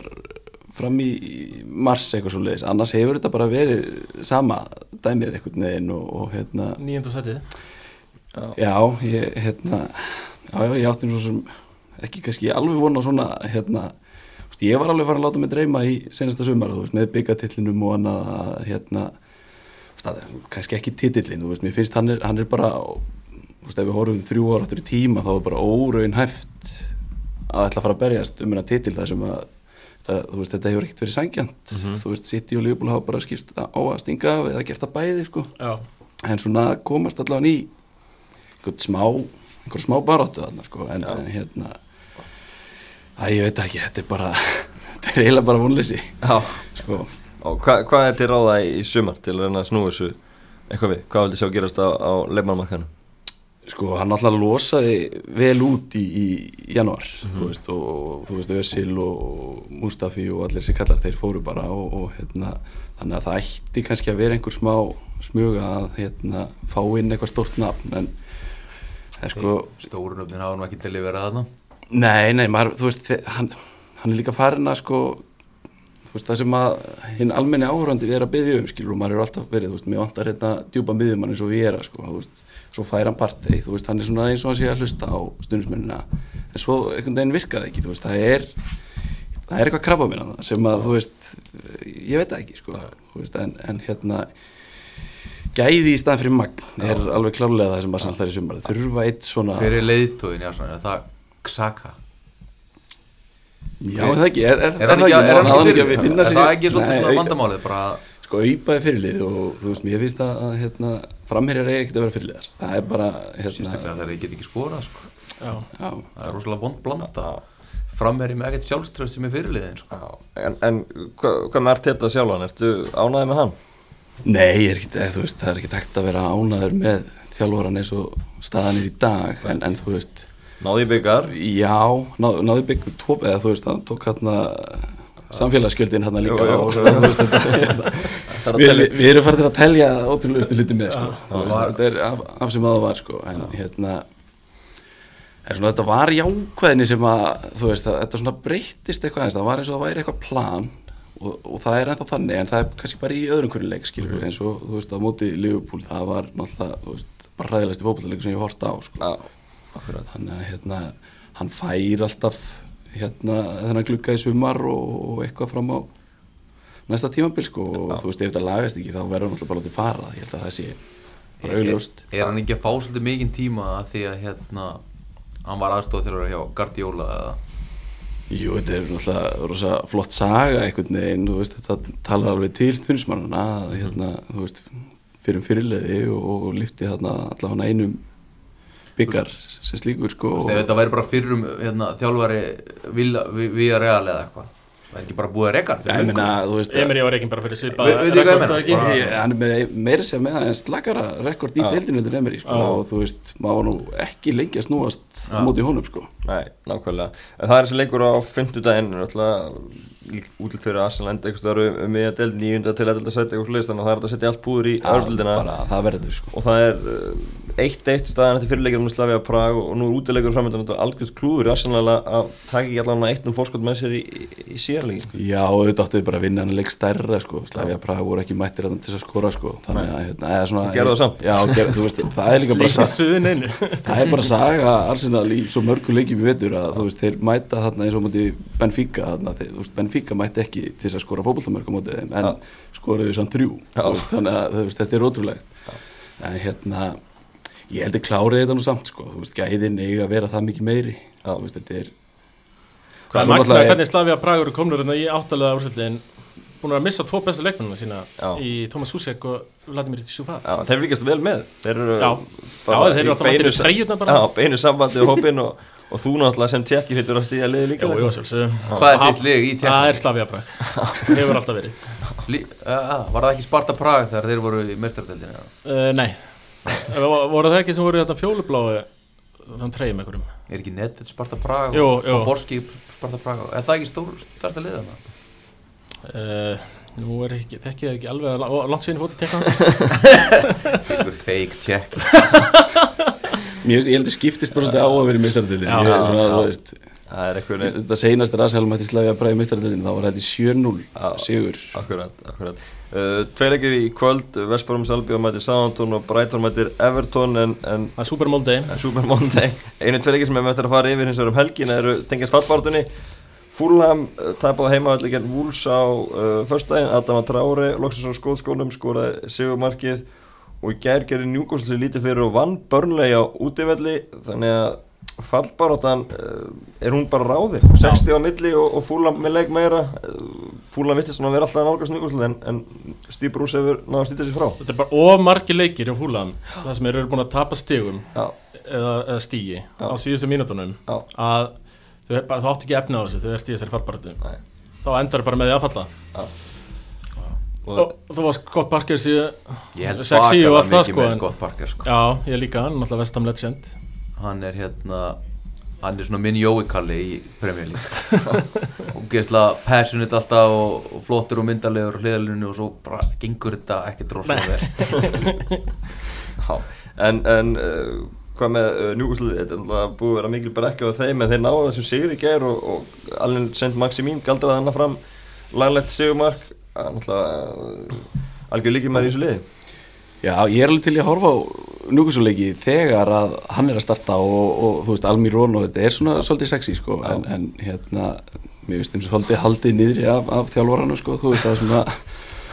Speaker 4: fram í í mars eitthvað svo leiðis, annars hefur þetta bara verið sama dæmið einhvern veginn og, og hérna,
Speaker 2: Nýjönda setið
Speaker 4: já, ég, hérna, já, já, ég átti nú svo sem, ekki kannski alveg vona svona, hérna, þú veist, ég var alveg farin að láta mig dreyma í senasta sumar, þú veist, með byggatillinum og annað, að, hérna, þú veist, að- kannski ekki titillin, þú veist, mér finnst hann er, hann er bara, þú veist, ef við horfum þrjú ára áttur í tíma, þá er bara óraunhæft að ætla að fara að berjast um hennar titil þar sem að það, þú veist, þetta hefur ekkert verið sangjant þú veist, City og Liverpool hafa bara skipst á að stinga af eða gert það bæði sko.
Speaker 2: Já
Speaker 4: en svona komast allavega í einhvern smá, einhver smá baráttu þarna sko, en, en hérna að ég veit ekki, þetta er bara þetta er eiginlega bara vonleysi
Speaker 1: Já.
Speaker 4: sko.
Speaker 1: og hva, hvað er til ráða í, í sumar til að reyna að snúa þessu eitthvað við, hvað vildi sjá gerast á, á leifmannmarkanum
Speaker 4: sko, hann alltaf losaði vel út í, í januar, þú veist, og, og þú veist, Özil og Mustafi og allir sem kallar, þeir fóru bara og, og hérna, þannig að það ætti kannski að vera einhver smá smuga að hérna, fá inn eitthvað stórt nafn, en það er sko,
Speaker 3: Stórunöfnin hafa nú ekki til að vera þarna
Speaker 4: nei, nei, maður, þú veist, þe- hann, hann er líka farin að sko, þú veist, það sem að hinn almenni áhörandi er að byggja um, skilur, og maður er alltaf verið, þú veist, mér vantar hérna djúpa miðjumann eins og við erum, sko, þú veist, svo fær hann partei, þú veist, hann er svona eins og hann sé að hlusta á stundismennina, en svo einhvern veginn virkaði ekki, þú veist, það er, það er eitthvað krabba mér að það sem að, þú veist, ég veit það ekki, sko, þú veist, en, en hérna, gæði í staðan fyrir magn er alveg klárlega það sem að saltar í sumar, Þeir þurfa eitt svona...
Speaker 3: Hver er leiðtóðin í Arsenal? Er það Xhaka?
Speaker 4: Já, er það ekki, er, er,
Speaker 3: Er hann ekki,
Speaker 4: það
Speaker 3: er hann
Speaker 4: Náði
Speaker 3: ekki fyrir?
Speaker 4: að vinna
Speaker 3: Er
Speaker 4: sig-
Speaker 3: það ekki svolítið
Speaker 4: Nei,
Speaker 3: svona
Speaker 4: au-
Speaker 3: vandamálið? Bara að
Speaker 4: Sko, aupaði fyrirlið og þú veist, mér finnst að, að hérna, framherjar eiga ekkert að vera fyrirliðar Það er bara, hérna,
Speaker 3: sérstaklega þegar þeir get ekki skorað sko.
Speaker 2: Já
Speaker 4: já,
Speaker 3: Það er rosalega vond blanda Framherri með ekkert sjálfströð sem er fyrirliðin sko.
Speaker 1: en, en hva, hvað með Arteta sjálfan, ertu ánæði með hann?
Speaker 4: nei, ég er ekkert, eh, þú veist, það er ekkert hægt að vera ánæður með þjálfvaran eins og staðan er í dag en, en þú veist,
Speaker 1: Náði í byggar
Speaker 4: já, ná, náðu byggðu tóp eða þú veist, hann tók hérna samfélagsgjöldin hérna líka
Speaker 1: Jú, jú.
Speaker 4: og, þú veist, þetta, hérna,
Speaker 1: Það er að
Speaker 4: við,
Speaker 1: telja.
Speaker 4: við, við erum farin að telja ótrúlegustu hluti með sko. Þú veist, þetta er af, af sem aða var sko. en hérna en svona, þetta var jákvæðinni sem að þú veist, að, þetta svona breyttist eitthvað aðeins, það var eins og það væri eitthvað plan og, og það er ennþá þannig, en það er kannski bara í öðrum hvernig leik, skilur
Speaker 1: Mhm.
Speaker 4: við, eins og þú veist, á móti Liverpool, það var náttúrulega þú veist, bara ræðilegst í fótballleiku sem ég horta á sko.
Speaker 1: Já, akkurat
Speaker 4: þannig að hérna, hann fær alltaf hérna, þennan glugga í sumar og, og eitthvað fram á næsta tímabil sko og þú veist ef þetta lagast ekki þá verður hann alltaf bara látið fara ég held að það sé bara augljóst
Speaker 3: Er hann ekki að fá svolítið mikinn tíma að því að hérna, hann var aðstofað hjá Guardiola eða
Speaker 4: Jú, þetta er náttúrulega rosa flott saga einhvern veginn, þú veist, þetta talar alveg til stundismannuna að hérna, þú veist, fyrir um fyrirliði og, og lyfti hérna allavega einum byggar sem slíkur sko
Speaker 3: Þú veist, ef
Speaker 4: og,
Speaker 3: þetta væri bara fyrrum hérna, þjálfari Villa- Vi- Villarreal eða eitthvað Það er ekki bara búið að reka hann fyrir
Speaker 4: ég
Speaker 3: löngu.
Speaker 4: meina, þú veist,
Speaker 2: Emir ég var ekki bara fyrir svipað
Speaker 3: Ve- veit ég hvað ég
Speaker 2: rekord,
Speaker 3: meina?
Speaker 2: ekki?
Speaker 3: Bara-
Speaker 4: Ég,
Speaker 1: Ah.
Speaker 4: hann er með meira sem með en slakara rekord í
Speaker 1: Já.
Speaker 4: deildinu heldur Emery sko,
Speaker 1: Já.
Speaker 4: og þú veist, maður var nú ekki lengi að snúast
Speaker 1: Ah.
Speaker 3: Já.
Speaker 4: á móti honum sko
Speaker 1: Nei, nákvæmlega. En það er þessi leikur á fimmtudaginn, útlýtt fyrir að Arsenal enda eitthvað störu um miðja deild, nýjunda til eitthvað sæti eitthvað slist, þannig að það er hægt að setja allt púður í örflindina
Speaker 4: bara það verður sko
Speaker 1: og það er uh, eitt eitt staðan eftir fyrirleikir um Slavia Prag og nú er útileikur framöndan og algjörð klúður í Arsenal að- að taka ekki allan eitt um fórskot með sér í, í- í sérleikin.
Speaker 4: Já, auðvitað áttu við bara að vinna hann leik stærra
Speaker 1: Ah.
Speaker 4: sko. Slavia Praga voru ekki mættir þarna til þess að skora sko. þannig að hérna, eða svona
Speaker 1: Gerðu það samt.
Speaker 4: Já, gerðu, þú veist, það er líka bara
Speaker 2: Slíkist
Speaker 4: sa-
Speaker 2: suðin einu
Speaker 4: það er bara saga Arsenal í svo mörgu leikjum við vetur að þú veist, þeir mæta þarna eins og á móti Benfica þarna, þeir, þú veist, Benfica mætti ekki til þess að skora fótboltamörg á móti þeim en
Speaker 1: Já.
Speaker 4: skoruðu samt þrjú
Speaker 1: Já.
Speaker 4: þú veist, þannig að þú veist, þetta er ótrúlegt en hérna, ég held ég klárið þetta nú samt sko, þú veist, gæðin eiga að vera það mikið meiri
Speaker 1: Já.
Speaker 4: þú veist, þetta er
Speaker 2: Hvað er
Speaker 4: Svo
Speaker 2: magna
Speaker 4: náttúrulega er-
Speaker 2: hvernig Slavia Pragur er komnur en hérna í áttalega úrslutin búin að missa tvo bestu leikmennina sína
Speaker 1: Já.
Speaker 2: í Thomas Susek og Vladimir Sjúfað
Speaker 1: Já, þeir fylgjast vel með. Þeir eru
Speaker 2: Já. Já, þeir eru alltaf mættir í treyjurnar bara.
Speaker 1: Já, beinu sambandi og hópin og, og þú náttúrulega sem tjekki hittur að stíða liði líka.
Speaker 2: Jú, jú, sjálfsög
Speaker 3: Hvað er þitt lið í
Speaker 2: Það er
Speaker 3: tjekkum?
Speaker 2: Slavia Prag Hefur alltaf verið
Speaker 3: eh, Var það ekki Sparta Prag þegar þeir voru í mestrardeldinu?
Speaker 2: uh, Nei Vo- Voru það ekki sem voru í þetta fjólubláu Þann treyjum einhverjum
Speaker 3: Er ekki Nedved Sparta Prag
Speaker 2: Jú,
Speaker 3: og
Speaker 2: jú.
Speaker 3: og Borski Sparta Prag? og- Er það ekki stór, stærsta lið þarna?
Speaker 2: uh, Nú er ekki, þekki ég ekki alveg að la- ó, Langt síðan fótið tekka hans
Speaker 3: Ykkur fake tjekk
Speaker 4: Mér, finnst- ég held að skiptist bara svolítið á að vera í meistardildin
Speaker 2: Já.
Speaker 4: Þú veist,
Speaker 1: Það er eitthvað
Speaker 4: þetta senast er aðsælum hætti slæði að bræði meistardildin þá var þetta í 7-0
Speaker 1: Já.
Speaker 4: sigur
Speaker 1: Akkurat, akkurat. Uh, Tveir leikir í kvöld, Vestbrórum Salbjörn mætir Southampton og Brighton mætir Everton en, en,
Speaker 2: Það er Super Monday
Speaker 1: en Eh, Super Monday, einu tveir leikir sem við ættum að fara yfir hins vegar um helgina eru tengjast fallbártunni. Fulham uh, tapaði heimavalli gegn Wolves á uh, föstudaginn, Adama Traore, loksins á skóðskólum, skoraði sigumarkið og í gær gerir Newcastle sér lítið fyrir og vann börnlegi á útivelli þannig að fallbáratan uh, er hún bara ráðir 60 á milli og, og Fulham með leik meira uh, Fulham vittist svona að vera alltaf að nálgast Newcastle en, en Steve Bruce hefur náða að stýta sér frá
Speaker 2: Þetta er bara of margi leikir hjá Fúlan Það sem eru búin að tapa stigum
Speaker 1: Já,
Speaker 2: eða, eða stígi á síðustu mínutunum
Speaker 1: Já.
Speaker 2: að þau, bara, þau átt ekki efni á þessu þau ert í þessari fallbaratu
Speaker 1: Nei.
Speaker 2: þá endar bara með því að falla og
Speaker 1: og,
Speaker 2: þú var Scott Parker síðan
Speaker 3: Ég held
Speaker 2: Sexy og
Speaker 3: svakalega
Speaker 2: allt það,
Speaker 3: mikið
Speaker 2: sko,
Speaker 3: með
Speaker 2: en-
Speaker 3: Scott Parker sko.
Speaker 2: já, ég líka, hann er náttúrulega Vestam Legend
Speaker 3: Hann er hérna Hann er svona minn Jói Kalli í Premier League og geðslega passionate alltaf og, og flottur og myndalegur og hliðalunni og svo bara gengur þetta ekki droslega vel
Speaker 1: já, en, en uh, hvað með uh, Newcastle þetta er náttúrulega búið að vera mikil brekka á þeim en þeir náðu þessum sigur í gær og, og alveg sent Maximín galdraði hana fram laglegt sigumark að náttúrulega uh, algjör líkið maður í þessu liði
Speaker 4: Já, ég er alveg til í að horfa á núkusuleiki þegar að hann er að starta og, og þú veist, Almi Rón og þetta er svona svolítið sexy sko, en, en hérna mér finnst þeim svolítið haldið niðri af, af þjálfvaranu sko, þú veist, það er svona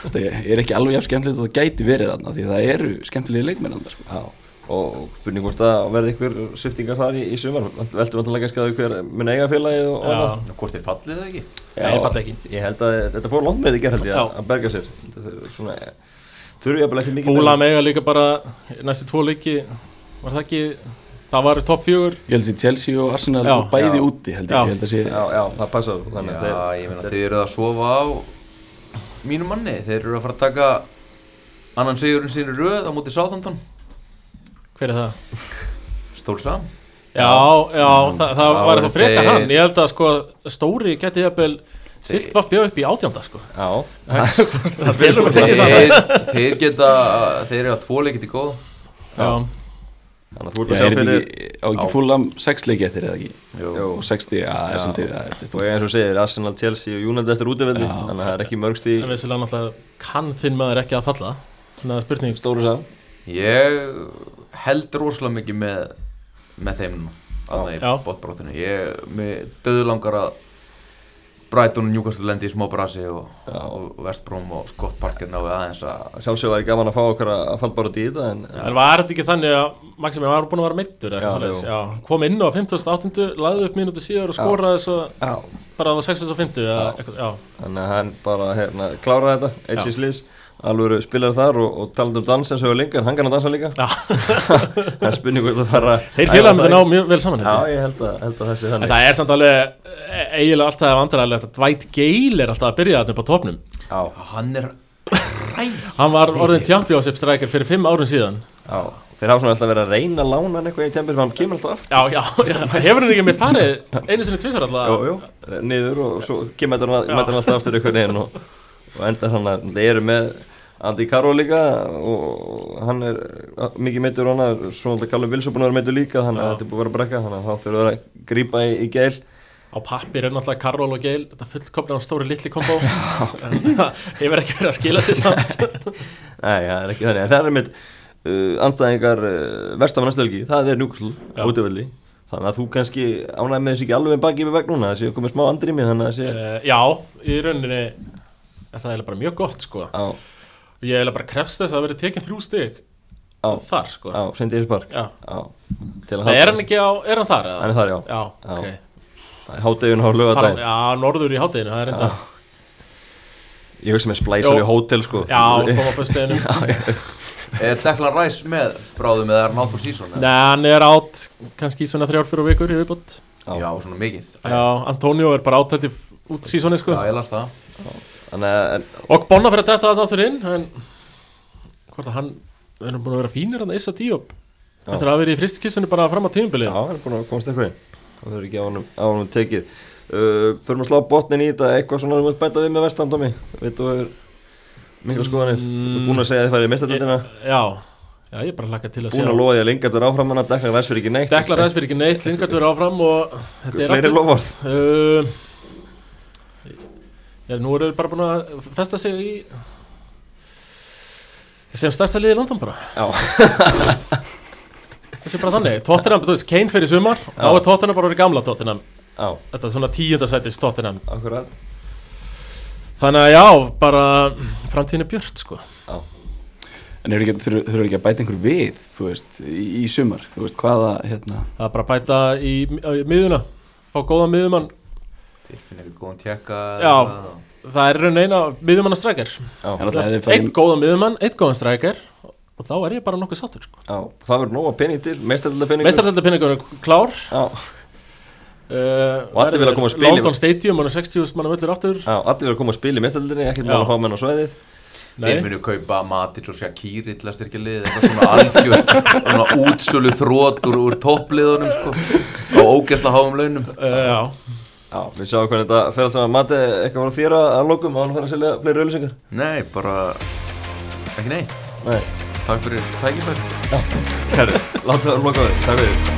Speaker 4: þetta er ekki alveg jafn skemmtilegt og það gæti verið þarna því það eru skemmtilegi leikmenn þarna sko.
Speaker 1: Já, og spurning hvort að verði ykkur sviptingar þar í, í sumar veltum náttúrulega kannski að hver minn eiga félagið og, og annað.
Speaker 2: já,
Speaker 3: Hvort þeir fallið það ekki?
Speaker 2: Já, ég falla ekki.
Speaker 1: ég held að þetta fór langt með þetta í gerð held ég
Speaker 2: Já.
Speaker 1: að- að berga sér þetta er svona þurfi jafnvel ekki mikið
Speaker 2: Fúlan eiga líka bara næstu tvo leiki var það ekki, það var topp fjögur
Speaker 4: Ég held að sé Chelsea og Arsenal
Speaker 2: Já.
Speaker 4: bæði
Speaker 1: Já.
Speaker 4: úti held ég,
Speaker 2: Já.
Speaker 4: ég held að sé
Speaker 1: já, já, það passar þannig
Speaker 3: Já,
Speaker 1: að þeir-
Speaker 3: ég meina
Speaker 1: þetta er-
Speaker 3: þeir eru að sofa á mínu manni, þeir eru að fara að taka annan sigurinn sinni röð á móti Sáþondon,
Speaker 2: hver er það?
Speaker 3: Stólsam
Speaker 2: já, já, það, það
Speaker 3: Já,
Speaker 2: var það frekar
Speaker 3: Mm. þeir-
Speaker 2: hann ég held að sko, stóri geti jafnvel silt var bjóð upp í átjánda sko
Speaker 1: já,
Speaker 2: það telur bara ekki saman
Speaker 3: þeir, þeir geta, þeir eru að tvo leikið til góð
Speaker 2: já,
Speaker 1: þannig að þú ert að
Speaker 4: Já,
Speaker 1: sjá
Speaker 4: er
Speaker 1: fyrir
Speaker 4: ekki, á ekki
Speaker 3: Á.
Speaker 4: fúlam sex leiki eftir eða ekki
Speaker 1: Jú.
Speaker 3: Jú.
Speaker 4: og 60, já, það
Speaker 1: Já.
Speaker 4: er svolítið það er-
Speaker 1: og eins og segir Arsenal, Chelsea og United eftir útivelli
Speaker 4: Já.
Speaker 1: þannig að það er ekki mörgst í
Speaker 2: en vissilega náttúrulega kann þinn maður ekki að falla þannig að spurning
Speaker 1: stóru sam
Speaker 3: Ég held rosalega mikið með, með þeim núna,
Speaker 1: Já.
Speaker 3: þannig í
Speaker 2: Já.
Speaker 3: botbróttinu Ég, mér döðu langar að Brighton og Newcastle lendi í smá brasi og,
Speaker 1: Já.
Speaker 3: og West Brom og Scott Parker náðu aðeins að
Speaker 1: Sjálfsög var ég gaman að fá okkar að að falla bara út í þetta en
Speaker 2: En var þetta ekki þannig að Maximilian var búin að vera meittur eða
Speaker 1: Já,
Speaker 2: eitthvað svoleiðis?
Speaker 1: jú.
Speaker 2: Já, kom inn á 15.8. lagði upp mínútu síðar og
Speaker 1: Já.
Speaker 2: skoraði svo
Speaker 1: Já.
Speaker 2: bara á 6.50 eða eitthvað, já,
Speaker 1: Þannig að hann bara hérna, kláraði þetta, eitt
Speaker 2: Já.
Speaker 1: síns liðs, alveg spilaði þar og, og talandi um dans eins og lengur, hann kann að dansa líka.
Speaker 2: já.
Speaker 1: Það er spurning hvort það fara...
Speaker 2: Þeir félagar myndi
Speaker 1: Æ,
Speaker 2: ná mjög vel saman
Speaker 1: Já,
Speaker 2: hérna
Speaker 1: ég held að, held að það sé
Speaker 2: En
Speaker 1: þannig.
Speaker 2: það er samt alveg eh, eiginlega alltaf vandræðilegt að Dwight Gale er alltaf að byrja þarna upp á topnum
Speaker 1: Já,
Speaker 3: hann er
Speaker 2: Hann var orðin championship striker fyrir 5 árum síðan
Speaker 1: já. Þeir hafa svona alltaf verið að reyna að lána hann eitthvað í tempir sem hann kemur alltaf aftur.
Speaker 2: Já, já, já, hefur hann ekki með farið einu sinni tvisar alltaf
Speaker 1: Jú, jú, niður og svo kemur þetta hann,
Speaker 2: Já.
Speaker 1: mætir hann alltaf aftur einhvern veginn og, og endar hann að þeir eru með Andy Carroll líka og hann er uh, mikið meittur og hann er svona alltaf Callum Wilson búin að vera meittur líka þannig að
Speaker 2: Já.
Speaker 1: þetta er búið að vera brekka þannig að hann þurfur að grípa í, í gæl
Speaker 2: Á pappir er náttúrulega Karol og Gale Þetta fullkomna á stóri litli kombo En það hefur ekki verið að skila sér samt
Speaker 1: Nei, það er ekki þannig, en það er mitt uh, anstæðingar uh, vestafannastelgi, það er njúksl
Speaker 2: Já.
Speaker 1: útöfelli þannig að þú kannski ánægð með þessi ekki alveg baki við vegg núna, þessi komið smá andrými þannig að þessi,
Speaker 2: Eh, Já, í rauninni er það eiginlega bara mjög gott sko
Speaker 1: á,
Speaker 2: Ég eiginlega bara krefst þess að það verið tekin þrjú stig
Speaker 1: á,
Speaker 2: Þar sko
Speaker 1: á, sendi þessi park
Speaker 2: Já.
Speaker 1: á, til að
Speaker 2: Nei, er hann ekki á, er hann þar? eða?
Speaker 1: Hann er þar, já.
Speaker 2: Já,
Speaker 1: Já.
Speaker 2: ok
Speaker 1: Hátegun á
Speaker 2: Fara,
Speaker 1: lögadaginn,
Speaker 2: já, norður í hátteginu, það er enda
Speaker 1: ég hugsa með splæsar
Speaker 2: Jó.
Speaker 1: í hótel sko
Speaker 2: Já, koma á föstudeginu
Speaker 3: er Deklan Ræs með bráðum eða er hann áfór sísón
Speaker 2: Nei, hann er átt kannski í svona þrjár fyrir vikur í viðbót
Speaker 1: Já.
Speaker 3: já, svona mikið
Speaker 2: Já, Antonio er bara áttælti út sísoni sko
Speaker 3: já, ég las það
Speaker 1: Þannig að, en,
Speaker 2: Og Bonna fyrir að detta þetta áttur inn En hvort að hann Við erum búin að vera fínir hann Issa Diop
Speaker 1: Já.
Speaker 2: Þetta er að vera í fristukissinu bara fram á tímubilið
Speaker 1: já, hann er búin að komast eitthvað inn það verður ekki á honum, á honum tekið uh, Förum að slá botnin í þetta, eitthvað svona þú vilt bæta við með vestamdómi, veit þú er mikla skoðanir,
Speaker 2: Mm.
Speaker 1: þú er búin að segja að þið færið mistatildina
Speaker 2: já, já, ég er bara hlakka til að
Speaker 1: búin að
Speaker 2: sjá
Speaker 1: lofa því að Lingard er áfram hann að dekla ræs fyrir ekki neitt
Speaker 2: Dekla Ræsberg ekki neitt, Lingard verið áfram og þetta er
Speaker 1: fleiri lofvörð
Speaker 2: uh, Já, nú eru þeir bara búin að festa sig í sem stærsta liði í London bara
Speaker 1: já,
Speaker 2: Það sé bara þannig, Tottenham, þú veist, Kane fyrir sumar þá er Tottenham bara orðið gamla Tottenham
Speaker 1: já,
Speaker 2: Þetta er svona tíundasætis Tottenham
Speaker 1: akkurat
Speaker 2: Þannig að já, bara framtíðin er björt sko
Speaker 1: já,
Speaker 4: En eru ekki- þurfur þurfur ekki að bæta einhver við, þú veist, í, í sumar, þú veist, hvaða, hérna,
Speaker 2: Það er bara að bæta í, í miðuna Fá góða miðumann
Speaker 3: þeir finna eitthvað góðan tjekka
Speaker 2: Já. Það er í raun eina miðumanna strækjar
Speaker 1: já,
Speaker 4: En alltaf ef við
Speaker 2: Eitt
Speaker 4: færum-
Speaker 2: góða miðumann, eitt góðan strækjar Og þá er ég bara nokkuð sáttur sko
Speaker 1: já það verður nóga pening til, meistarölda peningur
Speaker 2: Meistardeldarpinningur er klár
Speaker 1: já,
Speaker 2: uh,
Speaker 1: Og allir vilja koma að spila í-
Speaker 2: London Stadium, hann er 60.000 manna völlur aftur
Speaker 1: já, allir verður að koma að spila í meistaröldinni ekkert með
Speaker 2: Já.
Speaker 1: að fá menn á svæðið
Speaker 3: Þeir
Speaker 2: Nei,
Speaker 3: munu kaupa Matic og Shakiri til að styrkja liðið Þetta svona algjör svona útsölu þrót úr, úr toppliðunum sko, á ógæsla háum launum
Speaker 2: uh, já
Speaker 1: já, við sjáum hvernig þetta fer alltaf að mati eitthvað frá þér að- að lokum að hann fara að selja fleiri auðlýsingar
Speaker 3: Nei, bara ekki neitt
Speaker 1: nei,
Speaker 3: Takk fyrir tækifæri
Speaker 1: herri, láta það að loka við, takk fyrir